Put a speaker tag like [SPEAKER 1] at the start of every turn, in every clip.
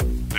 [SPEAKER 1] Du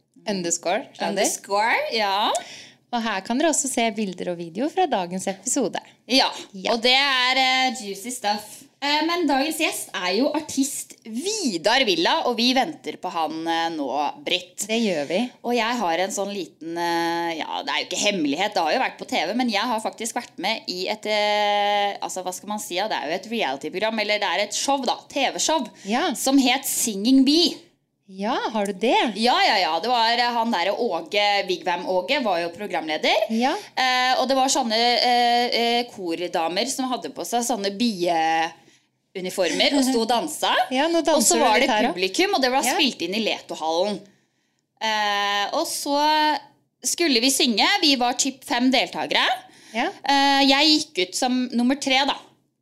[SPEAKER 2] Underscore sladder.
[SPEAKER 3] Underscore. Ja.
[SPEAKER 2] Og her kan dere også se bilder og video fra dagens episode.
[SPEAKER 3] ja.
[SPEAKER 2] Ja.
[SPEAKER 3] Og det er eh, juicy stuff. Eh, men dagens gjest er jo artist Vidar Villa, og vi venter på han eh, nå, Britt.
[SPEAKER 2] Det gjør vi.
[SPEAKER 3] Og jeg har en sånn liten eh, Ja, det er jo ikke hemmelighet, det har jo vært på TV, men jeg har faktisk vært med i et eh, Altså, hva skal man si? Ja? Det er jo et reality-program, eller det er et show, da. TV-show.
[SPEAKER 2] Ja.
[SPEAKER 3] Som het Singing Bee.
[SPEAKER 2] Ja, har du det?
[SPEAKER 3] Ja, ja, ja. Det var eh, han der Åge Vigvam-Åge var jo programleder.
[SPEAKER 2] Ja.
[SPEAKER 3] Eh, og det var sånne eh, eh, kordamer som hadde på seg sånne bieuniformer og sto og dansa.
[SPEAKER 2] Ja, nå danser
[SPEAKER 3] og så
[SPEAKER 2] du
[SPEAKER 3] var
[SPEAKER 2] litt
[SPEAKER 3] det
[SPEAKER 2] her også.
[SPEAKER 3] publikum, og det var
[SPEAKER 2] Ja.
[SPEAKER 3] spilt inn i Letohallen. Eh, og så skulle vi synge. Vi var typ fem deltakere.
[SPEAKER 2] Ja.
[SPEAKER 3] Eh, jeg gikk ut som nummer tre, da,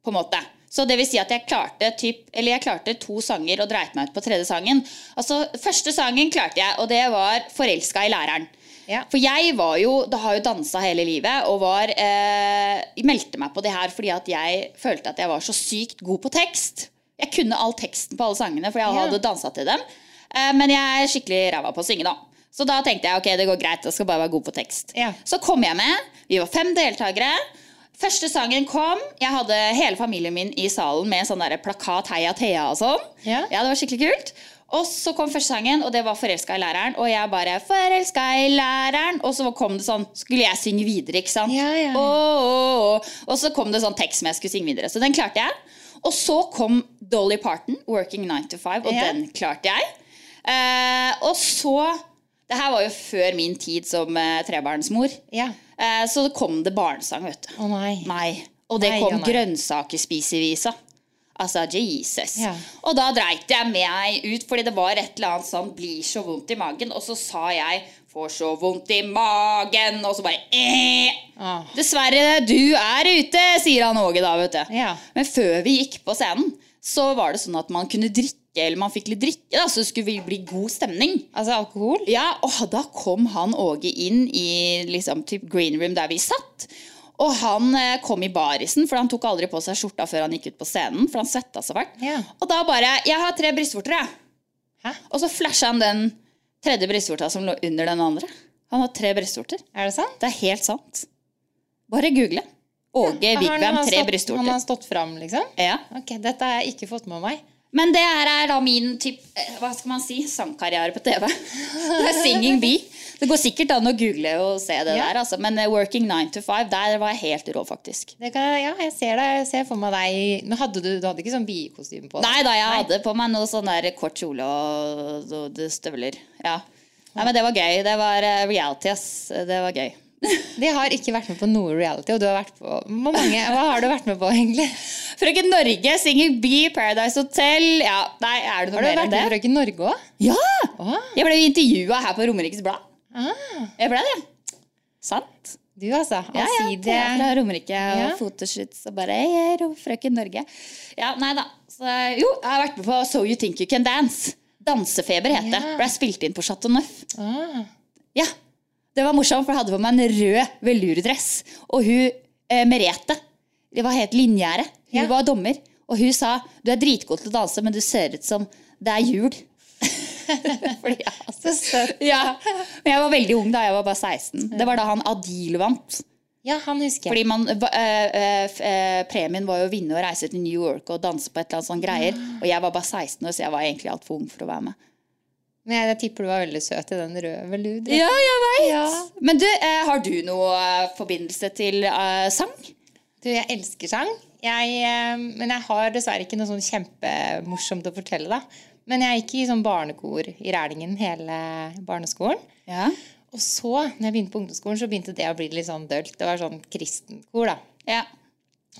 [SPEAKER 3] på en måte. Så det vil si at jeg klarte, typ, eller jeg klarte to sanger og dreit meg ut på tredje sangen. Altså, Første sangen klarte jeg, og det var 'Forelska i læreren'.
[SPEAKER 2] Ja.
[SPEAKER 3] For jeg var jo, da har jo dansa hele livet, og var, eh, meldte meg på det her fordi at jeg følte at jeg var så sykt god på tekst. Jeg kunne all teksten på alle sangene, for jeg
[SPEAKER 2] Ja.
[SPEAKER 3] hadde dansa til dem. Eh, men jeg er skikkelig ræva på å synge, da. Så da tenkte jeg ok, det går greit, jeg skal bare være god på tekst.
[SPEAKER 2] Ja.
[SPEAKER 3] Så kom jeg med. Vi var fem deltakere. Første sangen kom. Jeg hadde hele familien min i salen med sånn der plakat 'Heia Thea' og sånn.
[SPEAKER 2] Ja.
[SPEAKER 3] ja, det var skikkelig kult. Og så kom første sangen, og det var 'Forelska i læreren'. Og jeg bare 'Forelska i læreren'. Og så kom det sånn Skulle jeg synge videre, ikke sant?
[SPEAKER 2] Ja, ja,
[SPEAKER 3] Åh,
[SPEAKER 2] ja.
[SPEAKER 3] åh, åh. Og så kom det sånn tekst som jeg skulle synge videre. Så den klarte jeg. Og så kom Dolly Parton, 'Working 9 to 5', og
[SPEAKER 2] Ja.
[SPEAKER 3] den klarte jeg. Eh, og så Det her var jo før min tid som eh, trebarnsmor.
[SPEAKER 2] Ja.
[SPEAKER 3] Eh, så kom det barnesang, vet du.
[SPEAKER 2] Å nei.
[SPEAKER 3] Nei. Og det
[SPEAKER 2] Nei,
[SPEAKER 3] kom
[SPEAKER 2] ja, nei.
[SPEAKER 3] grønnsakerpisevisa. Altså Jesus.
[SPEAKER 2] Ja.
[SPEAKER 3] Og da dreit jeg meg ut, fordi det var et eller annet sånn 'blir så vondt i magen', og så sa jeg 'får så vondt i magen', og så bare eh.
[SPEAKER 2] Ah.
[SPEAKER 3] Dessverre, du er ute, sier han Åge da, vet du.
[SPEAKER 2] Ja.
[SPEAKER 3] Men før vi gikk på scenen, så var det sånn at man kunne drikke, eller man fikk litt drikke, da, så det skulle vi bli god stemning.
[SPEAKER 2] Altså alkohol?
[SPEAKER 3] Ja, og da kom han Åge inn i liksom typ green room der vi satt. Og han eh, kom i barisen, for han tok aldri på seg skjorta før han gikk ut på scenen. For han svetta så fælt.
[SPEAKER 2] Ja.
[SPEAKER 3] Og da bare 'Jeg har tre brystvorter, jeg'.
[SPEAKER 2] Hæ?
[SPEAKER 3] Og så flasha han den tredje brystvorta som lå under den andre. Han har tre brystvorter.
[SPEAKER 2] Er det sant?
[SPEAKER 3] Det er helt sant. Bare google. Åge
[SPEAKER 2] Har han-
[SPEAKER 3] Vigvam,
[SPEAKER 2] han
[SPEAKER 3] tre
[SPEAKER 2] stått- Han har
[SPEAKER 3] brystvorter.
[SPEAKER 2] stått fram, liksom?
[SPEAKER 3] Ja.
[SPEAKER 2] Ok, dette har jeg ikke fått med meg.
[SPEAKER 3] Men det her er da min typ, eh, hva skal man si, sangkarriere på TV. Det er Singing Bee. Det går sikkert an å google og se det
[SPEAKER 2] Ja.
[SPEAKER 3] der, altså. Men eh, Working 9 to 5, der var jeg helt rå, faktisk.
[SPEAKER 2] Det kan, jeg- ja, jeg ser, deg, jeg ser for meg deg i- Nå hadde du, du hadde ikke sånn biekostyme på?
[SPEAKER 3] Nei da, jeg hadde på meg noe sånn der kort kjole og, og det støvler. Ja. Nei, men det var gøy. Det var eh, reality, ass. Det var gøy.
[SPEAKER 2] De har ikke vært med på noe reality, og du har vært på Hvor mange, Hva har du vært med på, egentlig?
[SPEAKER 3] Frøken Norge, Singing Bee, Paradise Hotel. Ja, nei, er det noe
[SPEAKER 2] Har du
[SPEAKER 3] mer
[SPEAKER 2] vært
[SPEAKER 3] enn
[SPEAKER 2] med på
[SPEAKER 3] det?
[SPEAKER 2] Frøken Norge òg?
[SPEAKER 3] Ja!
[SPEAKER 2] Ah,
[SPEAKER 3] Jeg ble intervjua her på Romerikes Blad.
[SPEAKER 2] ah,
[SPEAKER 3] Jeg ble det. Sant.
[SPEAKER 2] du, altså.
[SPEAKER 3] Ja, ja, det
[SPEAKER 2] Allsidige.
[SPEAKER 3] er fra Romerike og
[SPEAKER 2] Ja.
[SPEAKER 3] fotoshoots og bare «Hei, jeg er ro- frøken Norge. Ja, nei da. Så, jo, jeg har vært med på So You Think You Can Dance. Dansefeber het det.
[SPEAKER 2] Ja.
[SPEAKER 3] Ble spilt inn på Chateau Neuf.
[SPEAKER 2] ah,
[SPEAKER 3] Ja. Det var morsomt, for jeg hadde på meg en rød velurdress. Og hun eh, Merete, det var helt linjære. Hun
[SPEAKER 2] Ja.
[SPEAKER 3] var dommer. Og hun sa du er dritgod til å danse, men du ser ut som det er jul. Fordi jeg
[SPEAKER 2] så søtt.
[SPEAKER 3] ja. Men jeg var veldig ung da. Jeg var bare 16. Det var da han Adil vant.
[SPEAKER 2] Ja, han husker jeg.
[SPEAKER 3] Fordi man, va- eh, eh, f- eh, Premien var jo å vinne og reise til sånn Ah. New York og danse på et eller annet sånt greier. Og jeg var bare 16 år, så jeg var egentlig altfor ung for å være med.
[SPEAKER 2] Men jeg, jeg tipper du var veldig søt i den røde veludretten.
[SPEAKER 3] Ja, jeg veit!
[SPEAKER 2] Ja.
[SPEAKER 3] Men du, eh, har du noe eh, forbindelse til eh, sang?
[SPEAKER 2] Du, jeg elsker sang. Jeg, eh, men jeg har dessverre ikke noe sånn kjempemorsomt å fortelle, da. Men jeg gikk i sånn barnekor i Rælingen hele barneskolen.
[SPEAKER 3] Ja.
[SPEAKER 2] Og så, når jeg begynte på ungdomsskolen, så begynte det å bli litt sånn dølt. Det var sånn kristenkor, da.
[SPEAKER 3] Ja.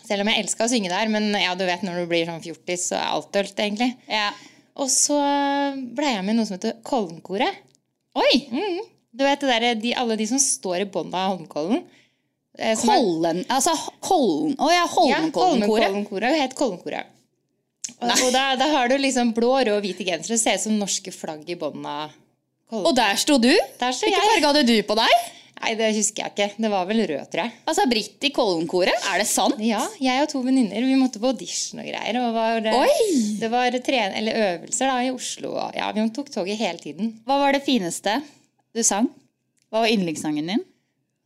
[SPEAKER 2] Selv om jeg elska å synge der, men ja, du vet når du blir sånn fjortis, så er alt dølt, egentlig.
[SPEAKER 3] ja.
[SPEAKER 2] Og så eh, ble jeg med i noe som heter Kollenkoret.
[SPEAKER 3] Oi!
[SPEAKER 2] Mm. Du vet det der, de, alle de som står i bånda av Holmenkollen. eh, som er-
[SPEAKER 3] Kollen Altså Kollen Å ja,
[SPEAKER 2] Ja,
[SPEAKER 3] Holmenkollen-koret.
[SPEAKER 2] Holmenkollenkoret het Kollenkoret. Og, og da, da har du liksom blå, rød og hvite gensere. Det ser ut som norske flagg i bånn av
[SPEAKER 3] Og der sto du?
[SPEAKER 2] Der sto
[SPEAKER 3] Hvilken
[SPEAKER 2] jeg.
[SPEAKER 3] farge hadde du på deg?
[SPEAKER 2] Nei, det husker jeg ikke. Det var vel rød, tror jeg.
[SPEAKER 3] Altså Britt i Kollenkoret? Er det sant?
[SPEAKER 2] Ja, jeg og to venninner vi måtte på audition og greier. Og var, eh,
[SPEAKER 3] Oi!
[SPEAKER 2] Det var tren eller øvelser da, i Oslo. Og, ja, Vi tok toget hele tiden.
[SPEAKER 3] Hva var det fineste du sang? Hva var yndlingssangen din?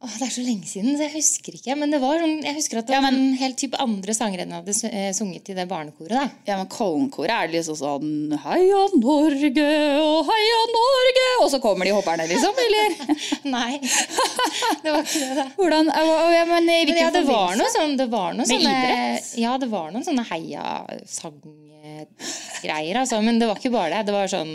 [SPEAKER 2] Åh, det er så lenge siden, så jeg husker ikke. Men det var sånn, jeg husker at det var en helt type andre sanger enn jeg hadde su- eh, sunget i det barnekoret. da.
[SPEAKER 3] Ja, men Kollenkoret er liksom sånn Heia Norge og heia Norge! Og så kommer de hopperne, liksom? Eller?
[SPEAKER 2] Nei, det var ikke det, da.
[SPEAKER 3] Hvordan, ja, men, i
[SPEAKER 2] Men
[SPEAKER 3] hvilken
[SPEAKER 2] ja, det var
[SPEAKER 3] forbindelse?
[SPEAKER 2] noe sånn, det var noe
[SPEAKER 3] Med
[SPEAKER 2] sånne,
[SPEAKER 3] idrett?
[SPEAKER 2] Ja, det var noen sånne heiasanggreier, altså. Men det var ikke bare det. Det var sånn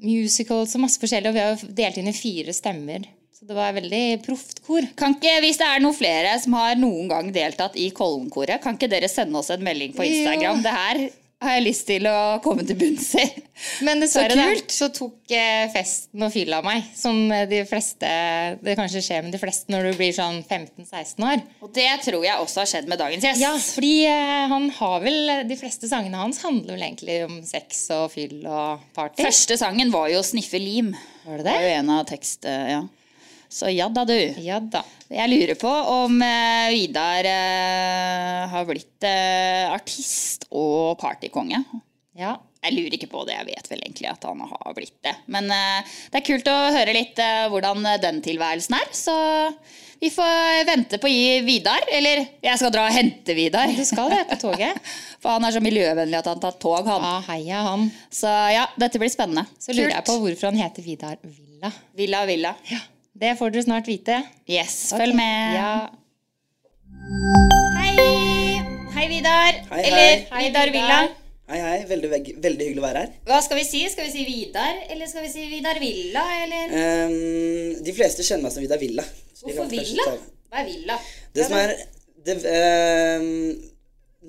[SPEAKER 2] musicals og masse forskjellig. Og vi har jo delt inn i fire stemmer. Så det var veldig proft kor.
[SPEAKER 3] Kan ikke, Hvis det er noen flere som har noen gang deltatt i Kollenkoret, kan ikke dere sende oss en melding på Instagram?
[SPEAKER 2] Jo.
[SPEAKER 3] Det her har jeg lyst til å komme til bunns i.
[SPEAKER 2] Men dessverre,
[SPEAKER 3] Så
[SPEAKER 2] da,
[SPEAKER 3] kult.
[SPEAKER 2] så tok eh, festen og fylla meg. Som eh, de fleste Det kanskje skjer med de fleste når du blir sånn 15-16 år.
[SPEAKER 3] Og det tror jeg også har skjedd med dagens gjest.
[SPEAKER 2] Ja, fordi eh, han har vel De fleste sangene hans handler vel egentlig om sex og fyll og party.
[SPEAKER 3] Første sangen var jo 'Sniffe lim'.
[SPEAKER 2] Var det
[SPEAKER 3] Det
[SPEAKER 2] det?
[SPEAKER 3] var jo en av tekst, eh, ja. Så ja da, du.
[SPEAKER 2] Ja da.
[SPEAKER 3] Jeg lurer på om eh, Vidar eh, har blitt eh, artist og partykonge.
[SPEAKER 2] Ja.
[SPEAKER 3] Jeg lurer ikke på det. Jeg vet vel egentlig at han har blitt det. Men eh, det er kult å høre litt eh, hvordan den tilværelsen er. Så vi får vente på å gi Vidar. Eller jeg skal dra og hente Vidar.
[SPEAKER 2] Du skal det på toget.
[SPEAKER 3] For han er så miljøvennlig at han tar tog, han.
[SPEAKER 2] Ja, heia han.
[SPEAKER 3] Så ja, dette blir spennende.
[SPEAKER 2] Så lurer
[SPEAKER 3] Kult.
[SPEAKER 2] jeg på hvorfor han heter Vidar Villa.
[SPEAKER 3] Villa Villa.
[SPEAKER 2] Det får dere snart vite.
[SPEAKER 3] Yes, følg med.
[SPEAKER 2] Ja.
[SPEAKER 3] Hei! Hei, Vidar.
[SPEAKER 4] Hei, hei.
[SPEAKER 3] Eller
[SPEAKER 2] Hei,
[SPEAKER 3] Vidar Villa.
[SPEAKER 2] Vidar.
[SPEAKER 4] Hei, hei. Veldig, veg- veldig hyggelig å være her.
[SPEAKER 3] Hva skal vi si? Skal vi si Vidar, eller skal vi si Vidar Villa, eller
[SPEAKER 4] Ehm, de fleste kjenner meg som Vidar Villa. Så de
[SPEAKER 3] Hvorfor
[SPEAKER 4] kan kanskje
[SPEAKER 3] Villa?
[SPEAKER 4] ta-
[SPEAKER 3] Hva er Villa?
[SPEAKER 4] Det som er det, ehm,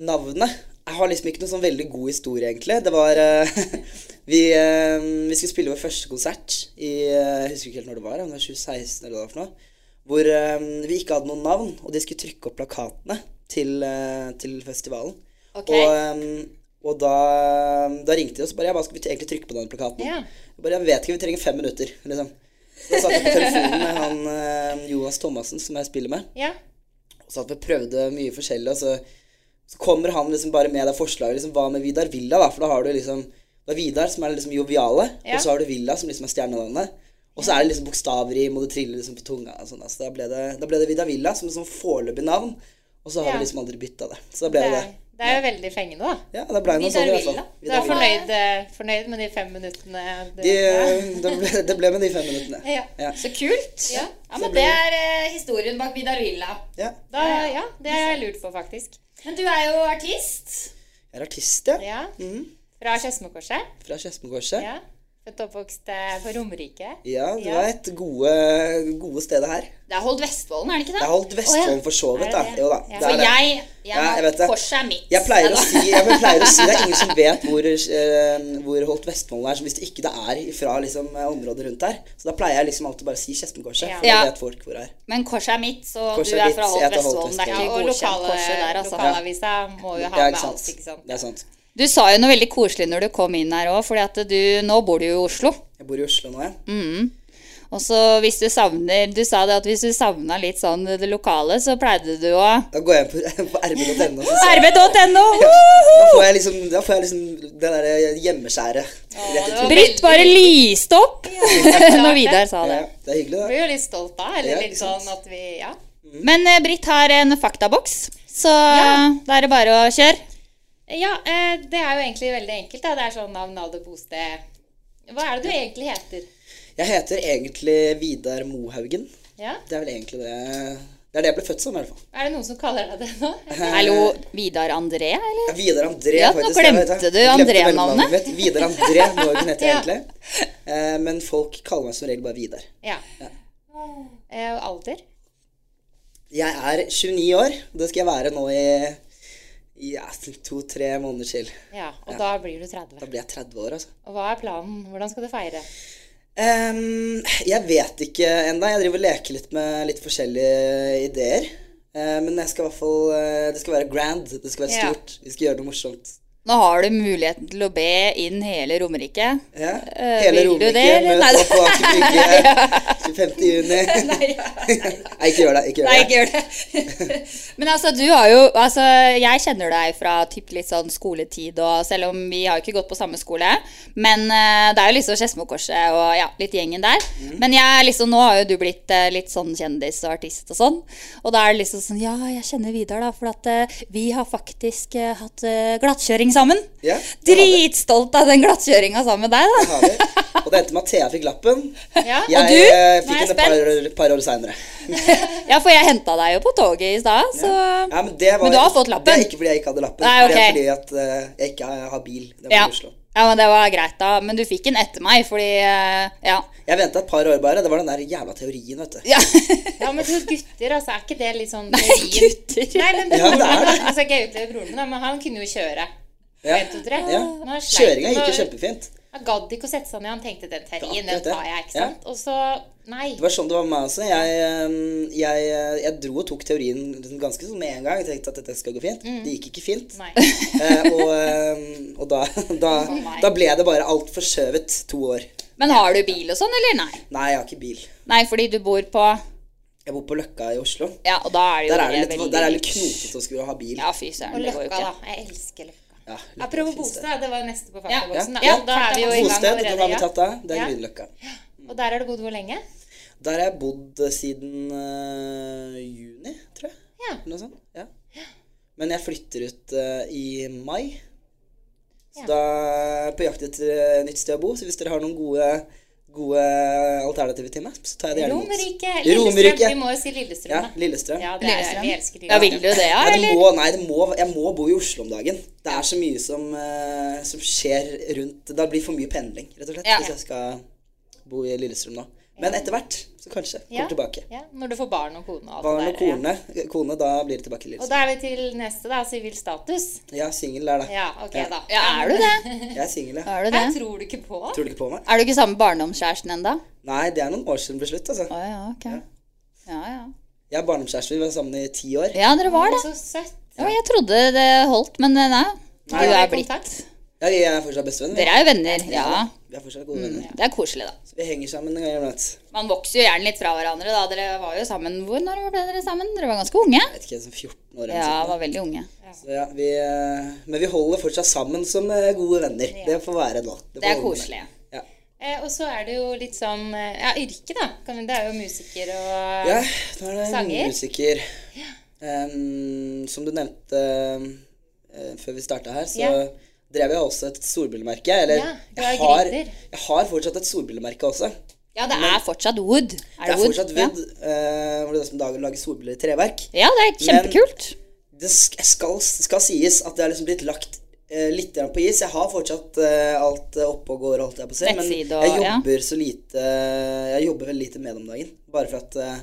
[SPEAKER 4] Navnet Jeg har liksom ikke noen sånn veldig god historie, egentlig. Det var eh, vi, ehm, vi skulle spille vår første konsert i eh, Jeg husker ikke helt når det var, om det var 2016 eller hva det var for noe. Hvor ehm, vi ikke hadde noen navn, og de skulle trykke opp plakatene til, eh, til festivalen.
[SPEAKER 3] Ok.
[SPEAKER 4] Og, ehm, og da, da ringte de oss og bare Ja, hva skal vi egentlig trykke på den plakaten?
[SPEAKER 2] Ja.
[SPEAKER 4] Jeg bare, jeg vet ikke, vi trenger fem minutter, liksom. Så jeg satt jeg på telefonen med han eh, Jonas Thomassen, som jeg spiller med.
[SPEAKER 2] ja.
[SPEAKER 4] Og så at vi prøvde mye forskjellig, og så, så kommer han liksom bare med det forslaget. Liksom, hva med Vidar Villa, da? For da har du liksom Det er Vidar som er liksom joviale,
[SPEAKER 2] Ja.
[SPEAKER 4] og så har du Villa som liksom er stjernenavnet. Og så er det liksom bokstaver i, må du trille liksom på tunga og sånn. Altså, da, ble det, da ble det Vidar Villa som et sånn foreløpig navn, og så har
[SPEAKER 2] Ja.
[SPEAKER 4] vi liksom aldri bytta det. Så da ble det det.
[SPEAKER 2] det er jo veldig fengende, da.
[SPEAKER 4] Ja, det ble noe sånn i hvert fall.
[SPEAKER 3] Villa.
[SPEAKER 2] Du er
[SPEAKER 4] Villa.
[SPEAKER 2] fornøyd, eh, fornøyd med de fem minuttene du
[SPEAKER 4] De, eh, det, ble, det ble med de fem minuttene.
[SPEAKER 2] Ja.
[SPEAKER 4] Ja.
[SPEAKER 3] Så kult. Ja, men det
[SPEAKER 4] Så blir
[SPEAKER 3] er eh, historien bak Vidar Villa.
[SPEAKER 4] Ja.
[SPEAKER 2] da, Ja, det har jeg lurt på, faktisk.
[SPEAKER 3] Men du er jo artist.
[SPEAKER 4] Jeg er artist, ja.
[SPEAKER 2] Ja. Fra Skedsmokorset.
[SPEAKER 4] Fra Skedsmokorset. Ja.
[SPEAKER 2] Ja. Født og oppvokst eh, på Romerike.
[SPEAKER 4] du
[SPEAKER 2] Ja.
[SPEAKER 4] veit. Gode, gode stedet her.
[SPEAKER 3] Det er Holdt Vestfolden, er det ikke
[SPEAKER 4] Det
[SPEAKER 3] det?
[SPEAKER 4] er holdt Vestfolden for så vidt,
[SPEAKER 2] Er det
[SPEAKER 4] da.
[SPEAKER 2] det?
[SPEAKER 4] Jo da.
[SPEAKER 2] Ja.
[SPEAKER 4] Det er
[SPEAKER 3] For
[SPEAKER 4] det.
[SPEAKER 3] jeg, jeg,
[SPEAKER 4] Ja, jeg vet det.
[SPEAKER 3] Korset er mitt.
[SPEAKER 4] Jeg pleier, å
[SPEAKER 3] Neida.
[SPEAKER 4] si, jeg pleier å si det er ingen som vet hvor, eh, hvor Holt Vestfolden er, så hvis det ikke det er fra liksom, området rundt her. Så da pleier jeg liksom alltid bare å si Skedsmokorset,
[SPEAKER 2] Ja.
[SPEAKER 4] for da
[SPEAKER 3] Ja.
[SPEAKER 4] vet folk hvor det er.
[SPEAKER 3] Men korset er mitt, så
[SPEAKER 4] Korset
[SPEAKER 3] du
[SPEAKER 4] er
[SPEAKER 3] er
[SPEAKER 4] mitt,
[SPEAKER 3] fra
[SPEAKER 4] jeg
[SPEAKER 3] Holdt
[SPEAKER 4] heter Holdt
[SPEAKER 3] Vestfolden. Det er
[SPEAKER 2] Ja,
[SPEAKER 3] ikke
[SPEAKER 2] og
[SPEAKER 3] godkjent
[SPEAKER 2] lokale,
[SPEAKER 3] korset der, altså.
[SPEAKER 2] lokalavisa må jo ha
[SPEAKER 4] Ja,
[SPEAKER 2] med
[SPEAKER 4] ikke sant.
[SPEAKER 2] alt, ikke sant.
[SPEAKER 4] Det er sant.
[SPEAKER 3] Du sa jo noe veldig koselig når du kom inn her òg, for nå bor du jo i Oslo.
[SPEAKER 4] Jeg bor i Oslo nå, jeg.
[SPEAKER 3] Og så hvis du savner Du sa det at hvis du savna litt sånn det lokale, så pleide du å
[SPEAKER 4] Da går jeg på, på rb.no, og så ser jeg.
[SPEAKER 3] RB.no!
[SPEAKER 4] Da får jeg liksom, da får jeg liksom det derre hjemmeskjæret rett i trynet.
[SPEAKER 3] Britt bare lyste opp når Vidar sa det.
[SPEAKER 4] Ja, det er hyggelig,
[SPEAKER 2] Jeg
[SPEAKER 4] det.
[SPEAKER 2] blir jo litt stolt da,
[SPEAKER 4] Ja,
[SPEAKER 2] eller litt
[SPEAKER 4] ikke sant.
[SPEAKER 2] sånn at vi Ja.
[SPEAKER 3] Men eh, Britt har en faktaboks, så da er det bare å kjøre.
[SPEAKER 2] Ja, eh, det er jo egentlig veldig enkelt. Da. Det er sånn navn, alder, bosted, Hva er det du egentlig heter?
[SPEAKER 4] Jeg heter egentlig Vidar Mohaugen.
[SPEAKER 2] Ja?
[SPEAKER 4] Det er vel egentlig det Det er det jeg ble født som, i hvert fall.
[SPEAKER 2] Er det noen som kaller deg det nå?
[SPEAKER 3] Hallo, Vidar André, eller?
[SPEAKER 4] Ja, Vidar André,
[SPEAKER 3] Ja, nå
[SPEAKER 4] faktisk.
[SPEAKER 3] glemte
[SPEAKER 4] det vet jeg.
[SPEAKER 3] du
[SPEAKER 4] Jeg glemte
[SPEAKER 3] André-navnet.
[SPEAKER 4] mellomnavnet mitt. Vidar André Mohaugen heter
[SPEAKER 2] Ja.
[SPEAKER 4] jeg egentlig. Eh, men folk kaller meg som regel bare Vidar.
[SPEAKER 2] Ja. Eh, Og alder?
[SPEAKER 4] Jeg er 29 år. Det skal jeg være nå i ja, to-tre måneder til.
[SPEAKER 2] Ja, og da blir du 30.
[SPEAKER 4] Da blir jeg 30 år, altså.
[SPEAKER 2] Og hva er planen? Hvordan skal du feire?
[SPEAKER 4] Ehm, jeg vet ikke ennå. Jeg driver og leker litt med litt forskjellige ideer. Eh, men jeg skal i hvert fall eh, Det skal være grand. Det skal være
[SPEAKER 2] Ja.
[SPEAKER 4] stort. Vi skal gjøre noe morsomt.
[SPEAKER 3] Nå har du muligheten til å be inn hele Romerike.
[SPEAKER 4] Ja.
[SPEAKER 3] Eh,
[SPEAKER 4] Hele
[SPEAKER 3] vil du
[SPEAKER 4] Romerike
[SPEAKER 3] det, eller?
[SPEAKER 4] møter
[SPEAKER 3] Nei.
[SPEAKER 4] opp på Aker Brygge 25. juni. Nei, ikke gjør det. Ikke gjør
[SPEAKER 3] Nei,
[SPEAKER 4] det.
[SPEAKER 3] ikke gjør det. Men altså, du har jo Altså, jeg kjenner deg fra typ litt sånn skoletid og Selv om vi har jo ikke gått på samme skole, men eh, det er jo liksom Skedsmokorset og ja, litt gjengen der.
[SPEAKER 4] Mm.
[SPEAKER 3] Men jeg liksom Nå har jo du blitt eh, litt sånn kjendis og artist og sånn. Og da er det liksom sånn Ja, jeg kjenner Vidar, da, for at eh, vi har faktisk eh, hatt eh, glattkjøring sammen.
[SPEAKER 4] Ja, det har vi.
[SPEAKER 3] Dritstolt av den glattkjøringa sammen med deg, da.
[SPEAKER 4] Har vi. Og det endte med at Thea fikk lappen.
[SPEAKER 2] Ja,
[SPEAKER 4] Jeg
[SPEAKER 3] og du?
[SPEAKER 4] eh,
[SPEAKER 3] Nå er
[SPEAKER 4] fikk
[SPEAKER 3] jeg
[SPEAKER 4] den et par, år- par år seinere.
[SPEAKER 3] Ja, for jeg henta deg jo på toget i stad, så
[SPEAKER 4] Ja, men, det var,
[SPEAKER 3] Men du har fått lappen?
[SPEAKER 4] Det er ikke fordi jeg ikke hadde lappen.
[SPEAKER 3] Nei, ok.
[SPEAKER 4] Det er fordi at eh, jeg ikke har- har bil. Det var
[SPEAKER 3] ja.
[SPEAKER 4] i Oslo.
[SPEAKER 3] ja, men det var greit, da. Men du fikk den etter meg, fordi eh, Ja.
[SPEAKER 4] Jeg venta et par år bare. Det var den der jævla teorien, vet du.
[SPEAKER 3] ja.
[SPEAKER 2] Ja, men du gutter, altså, er ikke det litt sånn
[SPEAKER 3] Nei,
[SPEAKER 2] teorien?
[SPEAKER 3] gutter.
[SPEAKER 2] Nei, men
[SPEAKER 4] Ja,
[SPEAKER 2] broren
[SPEAKER 4] det er
[SPEAKER 2] min,
[SPEAKER 4] det.
[SPEAKER 2] altså, ikke jeg utleve broren min, da, men han kunne jo kjøre.
[SPEAKER 4] Ja.
[SPEAKER 2] En, to, tre.
[SPEAKER 4] Ja.
[SPEAKER 2] Men han sleit
[SPEAKER 4] Kjøringa
[SPEAKER 2] med
[SPEAKER 4] gikk
[SPEAKER 2] å-
[SPEAKER 4] jo kjempefint.
[SPEAKER 2] Han gadd ikke å sette seg ned, han tenkte den terrien,
[SPEAKER 4] Det er akkurat
[SPEAKER 2] den tar
[SPEAKER 4] det.
[SPEAKER 2] jeg, ikke
[SPEAKER 4] Ja.
[SPEAKER 2] sant? Og så, nei.
[SPEAKER 4] Det var sånn det var med meg også. Jeg, øhm, jeg, øh, jeg dro og tok teorien liksom ganske sånn med en gang. Jeg tenkte at dette skal gå fint.
[SPEAKER 3] Mm.
[SPEAKER 4] Det gikk ikke fint.
[SPEAKER 2] Nei.
[SPEAKER 4] Eh, og øhm, og da, da, da ble det bare alt forskjøvet to år.
[SPEAKER 3] Men har du bil og sånn, eller nei?
[SPEAKER 4] Nei, jeg har ikke bil.
[SPEAKER 3] Nei, fordi du bor på
[SPEAKER 4] Jeg bor på Løkka i Oslo.
[SPEAKER 3] Ja, og da er det jo
[SPEAKER 4] Der er det litt,
[SPEAKER 3] veldig
[SPEAKER 4] der er det litt knotete å skulle ha bil.
[SPEAKER 3] Ja, fy søren,
[SPEAKER 2] Og
[SPEAKER 3] det går jo
[SPEAKER 2] Løkka,
[SPEAKER 3] ikke.
[SPEAKER 2] da. Jeg elsker Løkka.
[SPEAKER 4] Ja, Løkka
[SPEAKER 2] Apropos
[SPEAKER 4] finnes det.
[SPEAKER 2] bostad, det var neste på faktaboksen.
[SPEAKER 4] Ja,
[SPEAKER 2] da.
[SPEAKER 4] ja.
[SPEAKER 2] da er vi jo i gang
[SPEAKER 4] Bosted, den har
[SPEAKER 2] allerede.
[SPEAKER 4] vi tatt av. Det er
[SPEAKER 2] Ja.
[SPEAKER 4] Grünerløkka.
[SPEAKER 2] Ja. Og der har du bodd hvor lenge?
[SPEAKER 4] Der har jeg bodd siden øh, juni, tror jeg.
[SPEAKER 2] Ja.
[SPEAKER 4] Eller noe sånt. Ja. Men jeg flytter ut eh, i mai. Så
[SPEAKER 2] Ja.
[SPEAKER 4] da er jeg på jakt etter eh, nytt sted å bo. Så hvis dere har noen gode, gode alternativer til meg, så tar jeg det gjerne imot.
[SPEAKER 2] Romerike. Lillestrøm.
[SPEAKER 4] Romerike.
[SPEAKER 2] Vi må jo si Lillestrøm,
[SPEAKER 4] Ja,
[SPEAKER 2] da.
[SPEAKER 4] Lillestrøm.
[SPEAKER 2] Ja, det er, vi elsker
[SPEAKER 3] Ja, vil du det, ja,
[SPEAKER 4] Nei, det
[SPEAKER 3] eller?
[SPEAKER 4] må, nei det må, jeg må bo i Oslo om dagen. Det er så mye som, eh, som skjer rundt Det blir for mye pendling, rett og slett,
[SPEAKER 3] Ja.
[SPEAKER 4] hvis jeg skal bo i Lillestrøm nå. Men etter hvert så kanskje. Kommer
[SPEAKER 2] Ja.
[SPEAKER 4] tilbake.
[SPEAKER 2] Ja, når du får barn og kone og alt
[SPEAKER 4] Barn
[SPEAKER 2] det
[SPEAKER 4] og
[SPEAKER 2] der. ja.
[SPEAKER 4] kone, kone, da blir det tilbake i
[SPEAKER 2] Og
[SPEAKER 4] Lillestrøm.
[SPEAKER 2] da er vi til neste, da. Sivil status.
[SPEAKER 4] Jeg er singel der, da.
[SPEAKER 2] Ja, ok, da.
[SPEAKER 3] Ja, er du det?
[SPEAKER 4] Jeg er singel, jeg.
[SPEAKER 3] Er du det?
[SPEAKER 2] Jeg tror du ikke på.
[SPEAKER 4] Tror du ikke på meg?
[SPEAKER 3] Er du ikke sammen med barndomskjæresten ennå?
[SPEAKER 4] Nei, det er noen år siden det ble slutt, altså.
[SPEAKER 3] Å ja, ok. Ja, ja.
[SPEAKER 4] Jeg er barnekjæreste, vi var sammen i ti år.
[SPEAKER 3] Ja, dere var det.
[SPEAKER 2] Så søtt.
[SPEAKER 3] Ja, jeg trodde det holdt, men eh, nei. Du
[SPEAKER 2] Har dere
[SPEAKER 3] er blitt
[SPEAKER 2] kontakt?
[SPEAKER 4] Ja, vi er fortsatt bestevenn.
[SPEAKER 3] Dere er Mm, jo venner. Ja.
[SPEAKER 4] Vi er fortsatt gode venner.
[SPEAKER 3] Det er koselig, da.
[SPEAKER 4] Så vi henger sammen en gang iblant.
[SPEAKER 3] Man vokser jo gjerne litt fra hverandre, da. Dere var jo sammen Hvor når ble dere sammen? Dere var ganske unge?
[SPEAKER 4] Jeg vet ikke, sånn 14 år eller
[SPEAKER 3] Ja,
[SPEAKER 4] noe sånt.
[SPEAKER 3] var veldig unge.
[SPEAKER 4] Så ja, vi, eh, men vi holder fortsatt sammen som eh, gode venner. Det får være nå. får
[SPEAKER 3] Det er
[SPEAKER 4] holde med.
[SPEAKER 3] koselig.
[SPEAKER 4] Ja.
[SPEAKER 2] Eh, og så er det jo litt sånn eh, Ja, yrke, da. Kan vi- Det er jo musiker og
[SPEAKER 4] ja, nå er det
[SPEAKER 2] Sanger?
[SPEAKER 4] musiker. Em, som du nevnte eh, før vi starta her, så
[SPEAKER 2] Ja.
[SPEAKER 4] drev jeg også et storbilmerke. Eller
[SPEAKER 2] Ja, du er
[SPEAKER 4] jeg, har,
[SPEAKER 2] gründer.
[SPEAKER 4] jeg har fortsatt et storbilmerke også.
[SPEAKER 3] Ja, det er fortsatt wood. Er
[SPEAKER 4] Det
[SPEAKER 3] det
[SPEAKER 4] er
[SPEAKER 3] wood?
[SPEAKER 4] fortsatt Wood, eh, hvor det er som dagen lager solbriller i treverk.
[SPEAKER 3] Ja. ja, det er kjempekult.
[SPEAKER 4] det sk- skal, skal sies at det har liksom blitt lagt eh, litt grann på is. Jeg har fortsatt eh, alt eh, oppe og går, holdt jeg på å si. Men
[SPEAKER 3] Nettside og-
[SPEAKER 4] jeg
[SPEAKER 3] ja.
[SPEAKER 4] jobber så lite Jeg jobber veldig lite med det om dagen. Bare for at eh,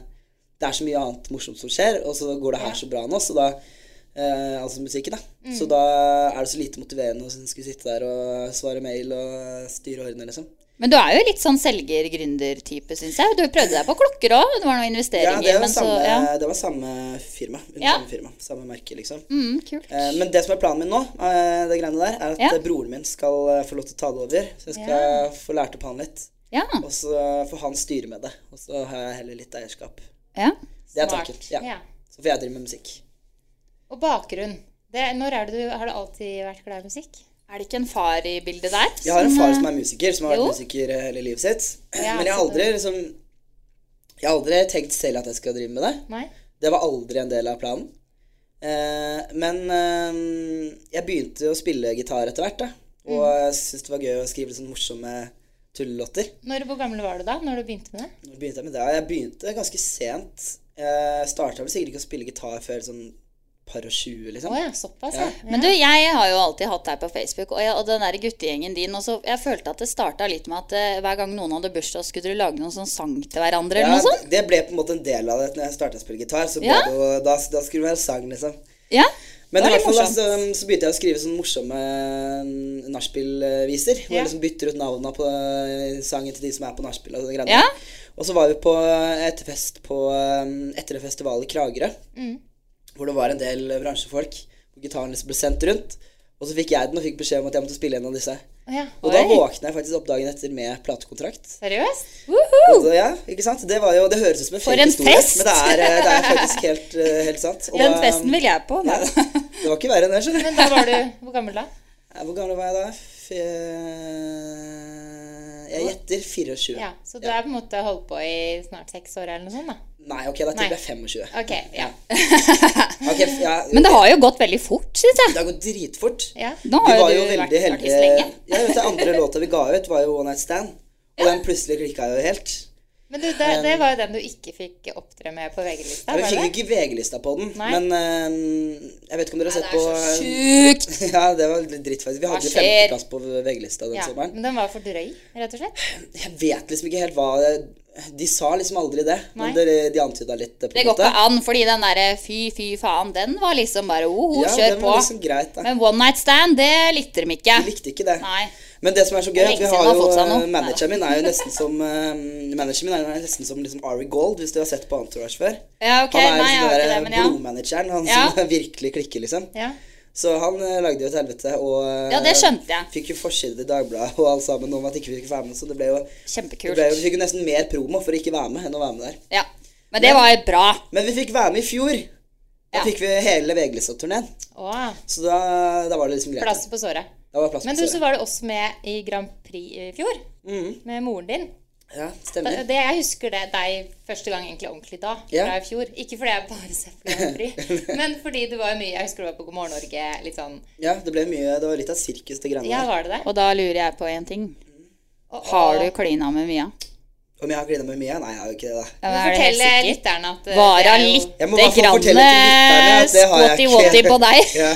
[SPEAKER 4] det er så mye annet morsomt som skjer, og så går det her så bra nå, så da eh, altså musikken, da.
[SPEAKER 3] Mm.
[SPEAKER 4] Så da er det så lite motiverende å skulle sitte der og svare mail og styre og ordne, liksom.
[SPEAKER 3] Men du er jo litt sånn selger-gründer-type, syns jeg. Du prøvde deg på klokker òg. Det var noen
[SPEAKER 4] Ja,
[SPEAKER 3] investeringer,
[SPEAKER 4] det var
[SPEAKER 3] men så
[SPEAKER 4] samme,
[SPEAKER 3] ja.
[SPEAKER 4] det var samme firma. Under
[SPEAKER 3] Ja.
[SPEAKER 4] samme firma. Samme merke, liksom.
[SPEAKER 3] Mm, kult.
[SPEAKER 4] Eh, Men det som er planen min nå, eh, det greiene der, er at
[SPEAKER 3] Ja.
[SPEAKER 4] eh, broren min skal eh, få lov til å ta det over. Så jeg skal få lært opp han litt,
[SPEAKER 3] Ja.
[SPEAKER 4] og så eh, får han styre med det. Og så har jeg heller litt eierskap.
[SPEAKER 3] ja.
[SPEAKER 4] Det er
[SPEAKER 2] Smart.
[SPEAKER 4] tanken. Ja.
[SPEAKER 2] Ja.
[SPEAKER 4] Så får jeg drive med musikk.
[SPEAKER 2] Og bakgrunn. Det, når er det du, har du alltid vært glad i musikk?
[SPEAKER 3] Er det ikke en far i bildet der?
[SPEAKER 4] Jeg har en
[SPEAKER 3] som,
[SPEAKER 4] far
[SPEAKER 3] eh,
[SPEAKER 4] som er musiker, som har
[SPEAKER 3] jo.
[SPEAKER 4] vært musiker eh, hele livet sitt.
[SPEAKER 2] Ja,
[SPEAKER 4] Men jeg har
[SPEAKER 2] så
[SPEAKER 4] aldri liksom Jeg har aldri tenkt selv at jeg skal drive med det.
[SPEAKER 2] Nei?
[SPEAKER 4] Det var aldri en del av planen. Eh, men eh, jeg begynte å spille gitar etter hvert, da. Og jeg syntes det var gøy å skrive litt sånn morsomme tullelåter.
[SPEAKER 2] Når, hvor gammel var du da når du begynte med det?
[SPEAKER 4] Når begynte jeg med det? Jeg begynte ganske sent. Jeg starta vel sikkert ikke å spille gitar før sånn par og 20,
[SPEAKER 2] Å
[SPEAKER 4] liksom.
[SPEAKER 2] ja, såpass, ja.
[SPEAKER 3] Men du, jeg har jo alltid hatt deg på Facebook, og, jeg, og den der guttegjengen din også. Jeg følte at det starta litt med at eh, hver gang noen hadde bursdag, skulle dere lage noen sånn sang til hverandre eller
[SPEAKER 4] Ja,
[SPEAKER 3] noe sånt.
[SPEAKER 4] det ble på en måte en del av det når jeg starta å spille gitar. Så ble
[SPEAKER 3] Ja.
[SPEAKER 4] det jo, da, da skulle det være sang, liksom.
[SPEAKER 3] Ja.
[SPEAKER 4] Men
[SPEAKER 3] det
[SPEAKER 4] i
[SPEAKER 3] var litt
[SPEAKER 4] hvert fall altså, da,
[SPEAKER 3] morsomt.
[SPEAKER 4] så, så begynte jeg å skrive sånne morsomme mm, nachspiel-viser. Hvor
[SPEAKER 2] Ja.
[SPEAKER 4] jeg liksom bytter ut navnene på eh, sangen til de som er på nachspiel. Og, sånne greiene.
[SPEAKER 3] Ja.
[SPEAKER 4] og så var vi på eh, etterfest på, mm, etter en festival i Kragerø.
[SPEAKER 3] Mm.
[SPEAKER 4] Hvor det var en del bransjefolk. Hvor gitaren liksom ble sendt rundt. Og så fikk jeg den og fikk beskjed om at jeg måtte spille en av disse.
[SPEAKER 2] Å ja.
[SPEAKER 4] Og da
[SPEAKER 2] Oi.
[SPEAKER 4] våkna jeg faktisk opp dagen etter med platekontrakt.
[SPEAKER 2] Seriøst?
[SPEAKER 4] Og så- Ja, ikke sant? Det, var jo, det høres ut som en
[SPEAKER 3] For
[SPEAKER 4] fake
[SPEAKER 3] en
[SPEAKER 4] historie,
[SPEAKER 3] fest!
[SPEAKER 4] men det er, eh, det er faktisk helt, eh, helt sant. Og
[SPEAKER 3] Den
[SPEAKER 4] da-
[SPEAKER 3] festen vil jeg på.
[SPEAKER 4] ja,
[SPEAKER 3] Men.
[SPEAKER 4] Det var ikke verre enn det, skjønner du.
[SPEAKER 2] Men da var du Hvor gammel da?
[SPEAKER 4] Ja, Hvor gammel var jeg da? Fe- Jeg gjetter 24.
[SPEAKER 2] Ja, Så du har på en måte holdt på i snart seks år eller noe sånt, da?
[SPEAKER 4] Nei, ok, da tipper
[SPEAKER 2] Nei.
[SPEAKER 4] jeg 25.
[SPEAKER 2] Ok, ja.
[SPEAKER 4] Ok, f- ja,
[SPEAKER 3] men det har jo gått veldig fort, syns jeg.
[SPEAKER 4] det har gått dritfort.
[SPEAKER 2] ja.
[SPEAKER 3] Nå
[SPEAKER 4] Vi
[SPEAKER 3] har
[SPEAKER 4] var
[SPEAKER 3] jo
[SPEAKER 4] jo
[SPEAKER 3] du vært
[SPEAKER 4] veldig heldige.
[SPEAKER 3] artist lenge.
[SPEAKER 4] Ja, vet du, andre låta vi ga ut, var jo One Night Stand. Og den plutselig klikka jo helt.
[SPEAKER 2] Men du, det, det var jo den du ikke fikk opptre med på VG-lista?
[SPEAKER 4] Ja, vi
[SPEAKER 2] var
[SPEAKER 4] fikk
[SPEAKER 2] det?
[SPEAKER 4] ikke VG-lista på den,
[SPEAKER 2] Nei.
[SPEAKER 4] men eh, jeg vet ikke om dere har sett på
[SPEAKER 3] Sjukt!
[SPEAKER 4] Ja, det var litt dritt, faktisk. Vi hadde jo
[SPEAKER 3] skjer?
[SPEAKER 4] 15 plass på VG-lista den
[SPEAKER 2] Ja,
[SPEAKER 4] sommeren.
[SPEAKER 2] men den var for drøy, rett og slett?
[SPEAKER 4] Jeg vet liksom ikke helt hva De sa liksom aldri det, men
[SPEAKER 2] Nei.
[SPEAKER 4] de, de antyda litt. eh, På
[SPEAKER 3] Det
[SPEAKER 4] en
[SPEAKER 3] går
[SPEAKER 4] måte.
[SPEAKER 3] ikke an, fordi den derre fy, fy faen, den var liksom bare oho,
[SPEAKER 4] Ja,
[SPEAKER 3] kjør
[SPEAKER 4] det
[SPEAKER 3] på.
[SPEAKER 4] var liksom greit, da.
[SPEAKER 3] Men one night stand, det likte de ikke.
[SPEAKER 4] Jeg likte ikke det.
[SPEAKER 3] Nei.
[SPEAKER 4] Men det som er så gøy, er at
[SPEAKER 3] Lenge
[SPEAKER 4] vi
[SPEAKER 3] siden
[SPEAKER 4] har
[SPEAKER 3] han
[SPEAKER 4] jo
[SPEAKER 3] har fått seg noe.
[SPEAKER 4] eh, Manageren min er jo nesten som eh, Manageren min er jo nesten som liksom Ari Gold, hvis du har sett på Entourage før.
[SPEAKER 3] Ja, ok,
[SPEAKER 4] han er
[SPEAKER 3] nei, jeg har ikke det,
[SPEAKER 4] liksom
[SPEAKER 3] men
[SPEAKER 4] den
[SPEAKER 3] ja.
[SPEAKER 4] der blodmanageren, han
[SPEAKER 3] Ja.
[SPEAKER 4] som virkelig klikker, liksom.
[SPEAKER 2] Ja.
[SPEAKER 4] Så han eh, lagde jo et helvete, og eh,
[SPEAKER 3] Ja, det skjønte jeg.
[SPEAKER 4] Fikk jo forside i Dagbladet og alt sammen om at ikke vi fikk være med, så det ble jo det
[SPEAKER 3] Kjempekult.
[SPEAKER 4] ble jo, Vi fikk jo nesten mer promo for å ikke være med enn å være med der.
[SPEAKER 3] Ja. Men det var bra.
[SPEAKER 4] Men vi fikk være med i fjor. Da
[SPEAKER 3] Ja.
[SPEAKER 4] fikk vi hele VG-lista-turneen.
[SPEAKER 2] Åh,
[SPEAKER 4] Så da, da var det liksom greit.
[SPEAKER 2] plassen på såret.
[SPEAKER 4] Da var det plass
[SPEAKER 2] Men
[SPEAKER 4] på
[SPEAKER 2] du, så
[SPEAKER 4] søret.
[SPEAKER 2] var du også med i Grand Prix i fjor. Med moren din.
[SPEAKER 4] Ja,
[SPEAKER 2] Da-
[SPEAKER 4] stemmer.
[SPEAKER 2] Det, jeg husker det deg første gang egentlig ordentlig da,
[SPEAKER 4] Mm. Ja.
[SPEAKER 2] fra i fjor. Ikke fordi jeg bare ser på Grand Prix, men fordi du var jo mye Jeg husker du var på God morgen Norge, litt sånn
[SPEAKER 4] Ja, det ble mye Det var litt av sirkus, det greiene
[SPEAKER 2] Ja, var det det?
[SPEAKER 3] Og da lurer jeg på en ting.
[SPEAKER 2] Og-
[SPEAKER 3] Har du
[SPEAKER 2] og-
[SPEAKER 3] klina med Mia?
[SPEAKER 4] Om jeg har klina med Mia? Nei, jeg har jo ikke det, da.
[SPEAKER 3] Ja, men er du helt
[SPEAKER 2] Fortell eh,
[SPEAKER 3] sikker?
[SPEAKER 2] lytterne at eh, det
[SPEAKER 3] Vara
[SPEAKER 2] er jo-
[SPEAKER 3] lite
[SPEAKER 4] Jeg må bare få
[SPEAKER 3] grann
[SPEAKER 4] fortelle til lytterne at det har jeg ikke.
[SPEAKER 3] spotty-wotty på deg.
[SPEAKER 4] Ja.